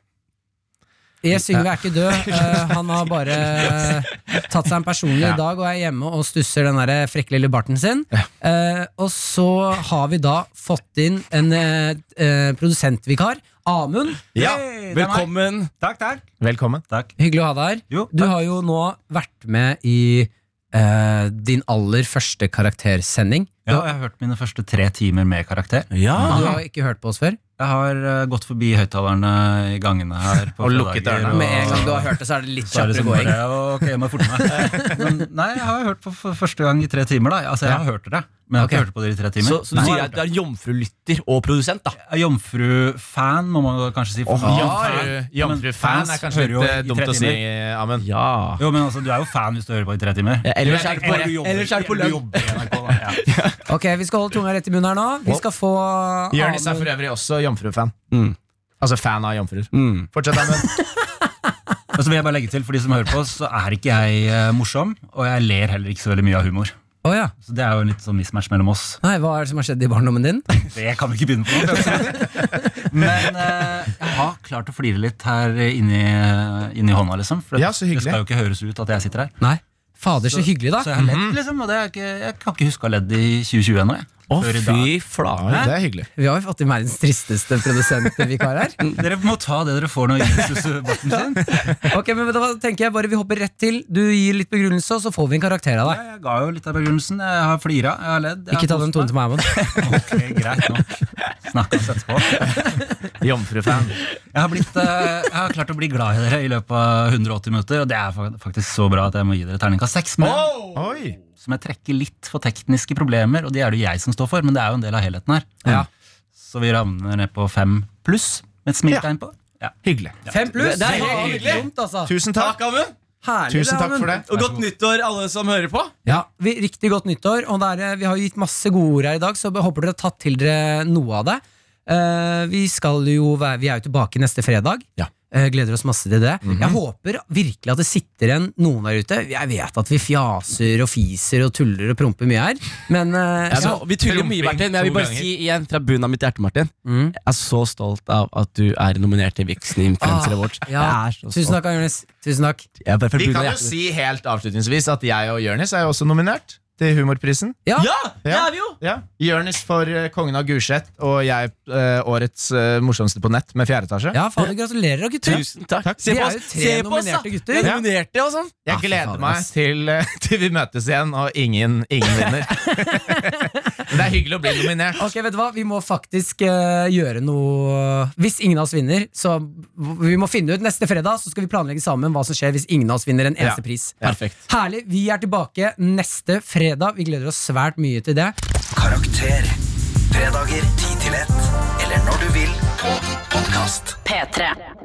C: yes, Yngve er ikke død. Eh, han har bare eh, tatt seg en personlig
D: Ja.
C: dag og er hjemme og stusser den der eh, frekke lille barten sin. Eh, og så har vi da fått inn en eh, eh, produsentvikar. Amund,
B: Ja,
C: Hey, det er meg.
B: velkommen.
H: Takk, takk.
D: Velkommen.
C: hyggelig å ha deg her.
H: Jo,
C: Du har jo nå vært med i eh, din aller første karaktersending. Du,
H: Ja, jeg har hørt mine første tre timer med karakter.
B: Ja.
C: du har ikke hørt på oss før?
H: Jeg har eh, gått forbi høyttalerne i gangene her. På
D: Og lukket
H: fredager,
D: dørene.
H: og-
C: Med en gang du har hørt det, så er det litt
H: Så er det
C: kjappere
H: sånn
C: gåing.
H: bare, ok, jeg må forte meg. Men, nei, jeg har hørt på for første gang i tre timer. da. Altså, Jeg har hørt dere, men jeg har ikke hørt på dere i tre timer.
B: Så, så du
H: Nei.
B: sier at du er jomfrulytter og produsent, da?
H: Jeg er Jomfru-fan, må man kanskje si. for-
D: Jomfru-
H: Men
D: Jomfrufan
H: fans
D: er
H: hører
D: kanskje
H: jo
D: litt eh,
H: i tre
D: dumt å si,
H: timer.
D: Amund.
B: Ja.
H: Jo, men altså, Du er jo fan hvis du hører på i tre timer.
B: Ellers er det på,
H: Eller du jobber-
B: ellers er det på
H: eller du
B: lønn.
H: jobber i NRK, da. Ja.
C: Ok, Vi skal holde tunga rett i munnen her nå. Vi skal få
D: Jonis er
C: Amund-
D: for øvrig også jomfrufan.
B: Mm.
D: Altså fan av jomfruer.
B: Mm.
D: Fortsett, Amund.
H: Og så vil jeg bare legge til, For de som hører på oss, så er ikke jeg eh, morsom, og jeg ler heller ikke så veldig mye av humor.
C: Å ja.
H: Så det er jo en litt sånn mismatch mellom oss.
C: Nei, Hva er det som har skjedd i barndommen din?
H: Det kan vi ikke begynne på nå. Men eh, jeg har klart å flire litt her inni, inni hånda, liksom. For
D: Ja, så hyggelig.
H: det skal jo ikke høres ut at jeg sitter her.
C: Nei, Fader, så hyggelig,
H: Så
C: da.
H: jeg har ledd, liksom. Og det er ikke, jeg kan ikke huske å ha ledd i 2020 ennå. jeg.
B: Å,
H: Før i dag.
B: fy flate.
D: Ja, det er hyggelig.
C: Vi har jo fått inn verdens tristeste produsentvikar her.
H: Dere må ta det dere får når Jesus suser barten sin.
C: Ok, men vet du hva, tenker jeg bare Vi hopper rett til. Du gir litt begrunnelse, og så får vi en karakter av deg.
H: Jeg ga jo litt av begrunnelsen. Jeg har flira, jeg har ledd. jeg
C: Ikke ta
H: har
C: den
H: kost
C: tonen til meg, Amund.
H: meg. Ok, greit nok. Snakkes etterpå.
D: Jomfrufan.
H: Jeg har, blitt, eh, jeg har klart å bli glad i dere i løpet av 180 minutter, og det er fa- faktisk så bra at jeg må gi dere terningkast seks. Men
D: Oi.
H: som jeg trekker litt for tekniske problemer, og de er det jo jeg som står for, men det er jo en del av helheten her.
C: Ja.
H: Så vi ravner ned på fem pluss, med et smiltegn på. Ja.
D: Hyggelig.
C: Fem pluss!
B: Det- det er
C: faen,
B: hyggelig.
C: ikke dumt, altså.
D: Tusen takk.
B: Amund.
C: Herlig,
D: Tusen
C: det,
D: takk for
C: Amund.
D: det.
B: Og godt nyttår, alle som hører på.
C: Ja, vi, Riktig godt nyttår. Og det er, eh, vi har jo gitt masse gode ord her i dag, så jeg håper dere har tatt til dere noe av det. Eh, vi, skal jo være, vi er jo tilbake neste fredag.
B: Ja. Mhm.
C: Eh, gleder oss masse til det. Jeg håper virkelig at det sitter igjen noen der ute. Jeg vet at vi fjaser og fiser og tuller og promper mye her, men eh,
B: Altså,
C: ja,
B: vi tuller jo mye, Martin. Men jeg vil bare
D: Rumping to
B: si igjen fra bunnen av mitt hjerte, Martin.
C: Mm.
B: Jeg er så stolt av at du er nominert til Vixen Influencer
C: Ah,
B: Awards.
C: ja.
B: Jeg er så
C: Tusen
B: stolt.
C: takk, Jonis. Tusen takk.
B: Jeg er bare fra
D: Vi
B: bunnen av
D: kan jo
B: hjertet.
D: si helt avslutningsvis at jeg og Jørnis er jo også nominert til Humorprisen.
C: Ja,
B: Ja, det
D: Ja.
B: er vi jo!
D: Ja. Jørnis for eh, Kongen av Gulset og jeg eh, Årets eh, morsomste på nett med fjerde etasje.
C: ja fader, gratulerer, gutter.
B: Tusen takk.
D: Takk.
B: Se
C: Vi
B: på
C: er
B: oss,
C: jo tre
B: Se på oss, da.
C: nominerte gutter.
B: Vi er
D: Ja.
B: nominerte og sånn.
D: Jeg
C: Ah, fy
D: gleder
C: fader,
D: meg
C: ass.
D: til, eh, til vi møtes igjen og ingen, ingen vinner. Men det er hyggelig å bli nominert.
C: Ok, vet du hva? Vi må faktisk eh, gjøre noe Hvis ingen av oss vinner, så vi må finne ut neste fredag, så skal vi planlegge sammen hva som skjer hvis ingen av oss vinner en eneste
D: Ja.
C: pris.
B: Perfekt.
C: Herlig. Vi er tilbake neste fredag. Vi gleder oss svært mye til det.
A: Karakter. Fredager 10 til 1. Eller når du vil på podkast.
F: P3.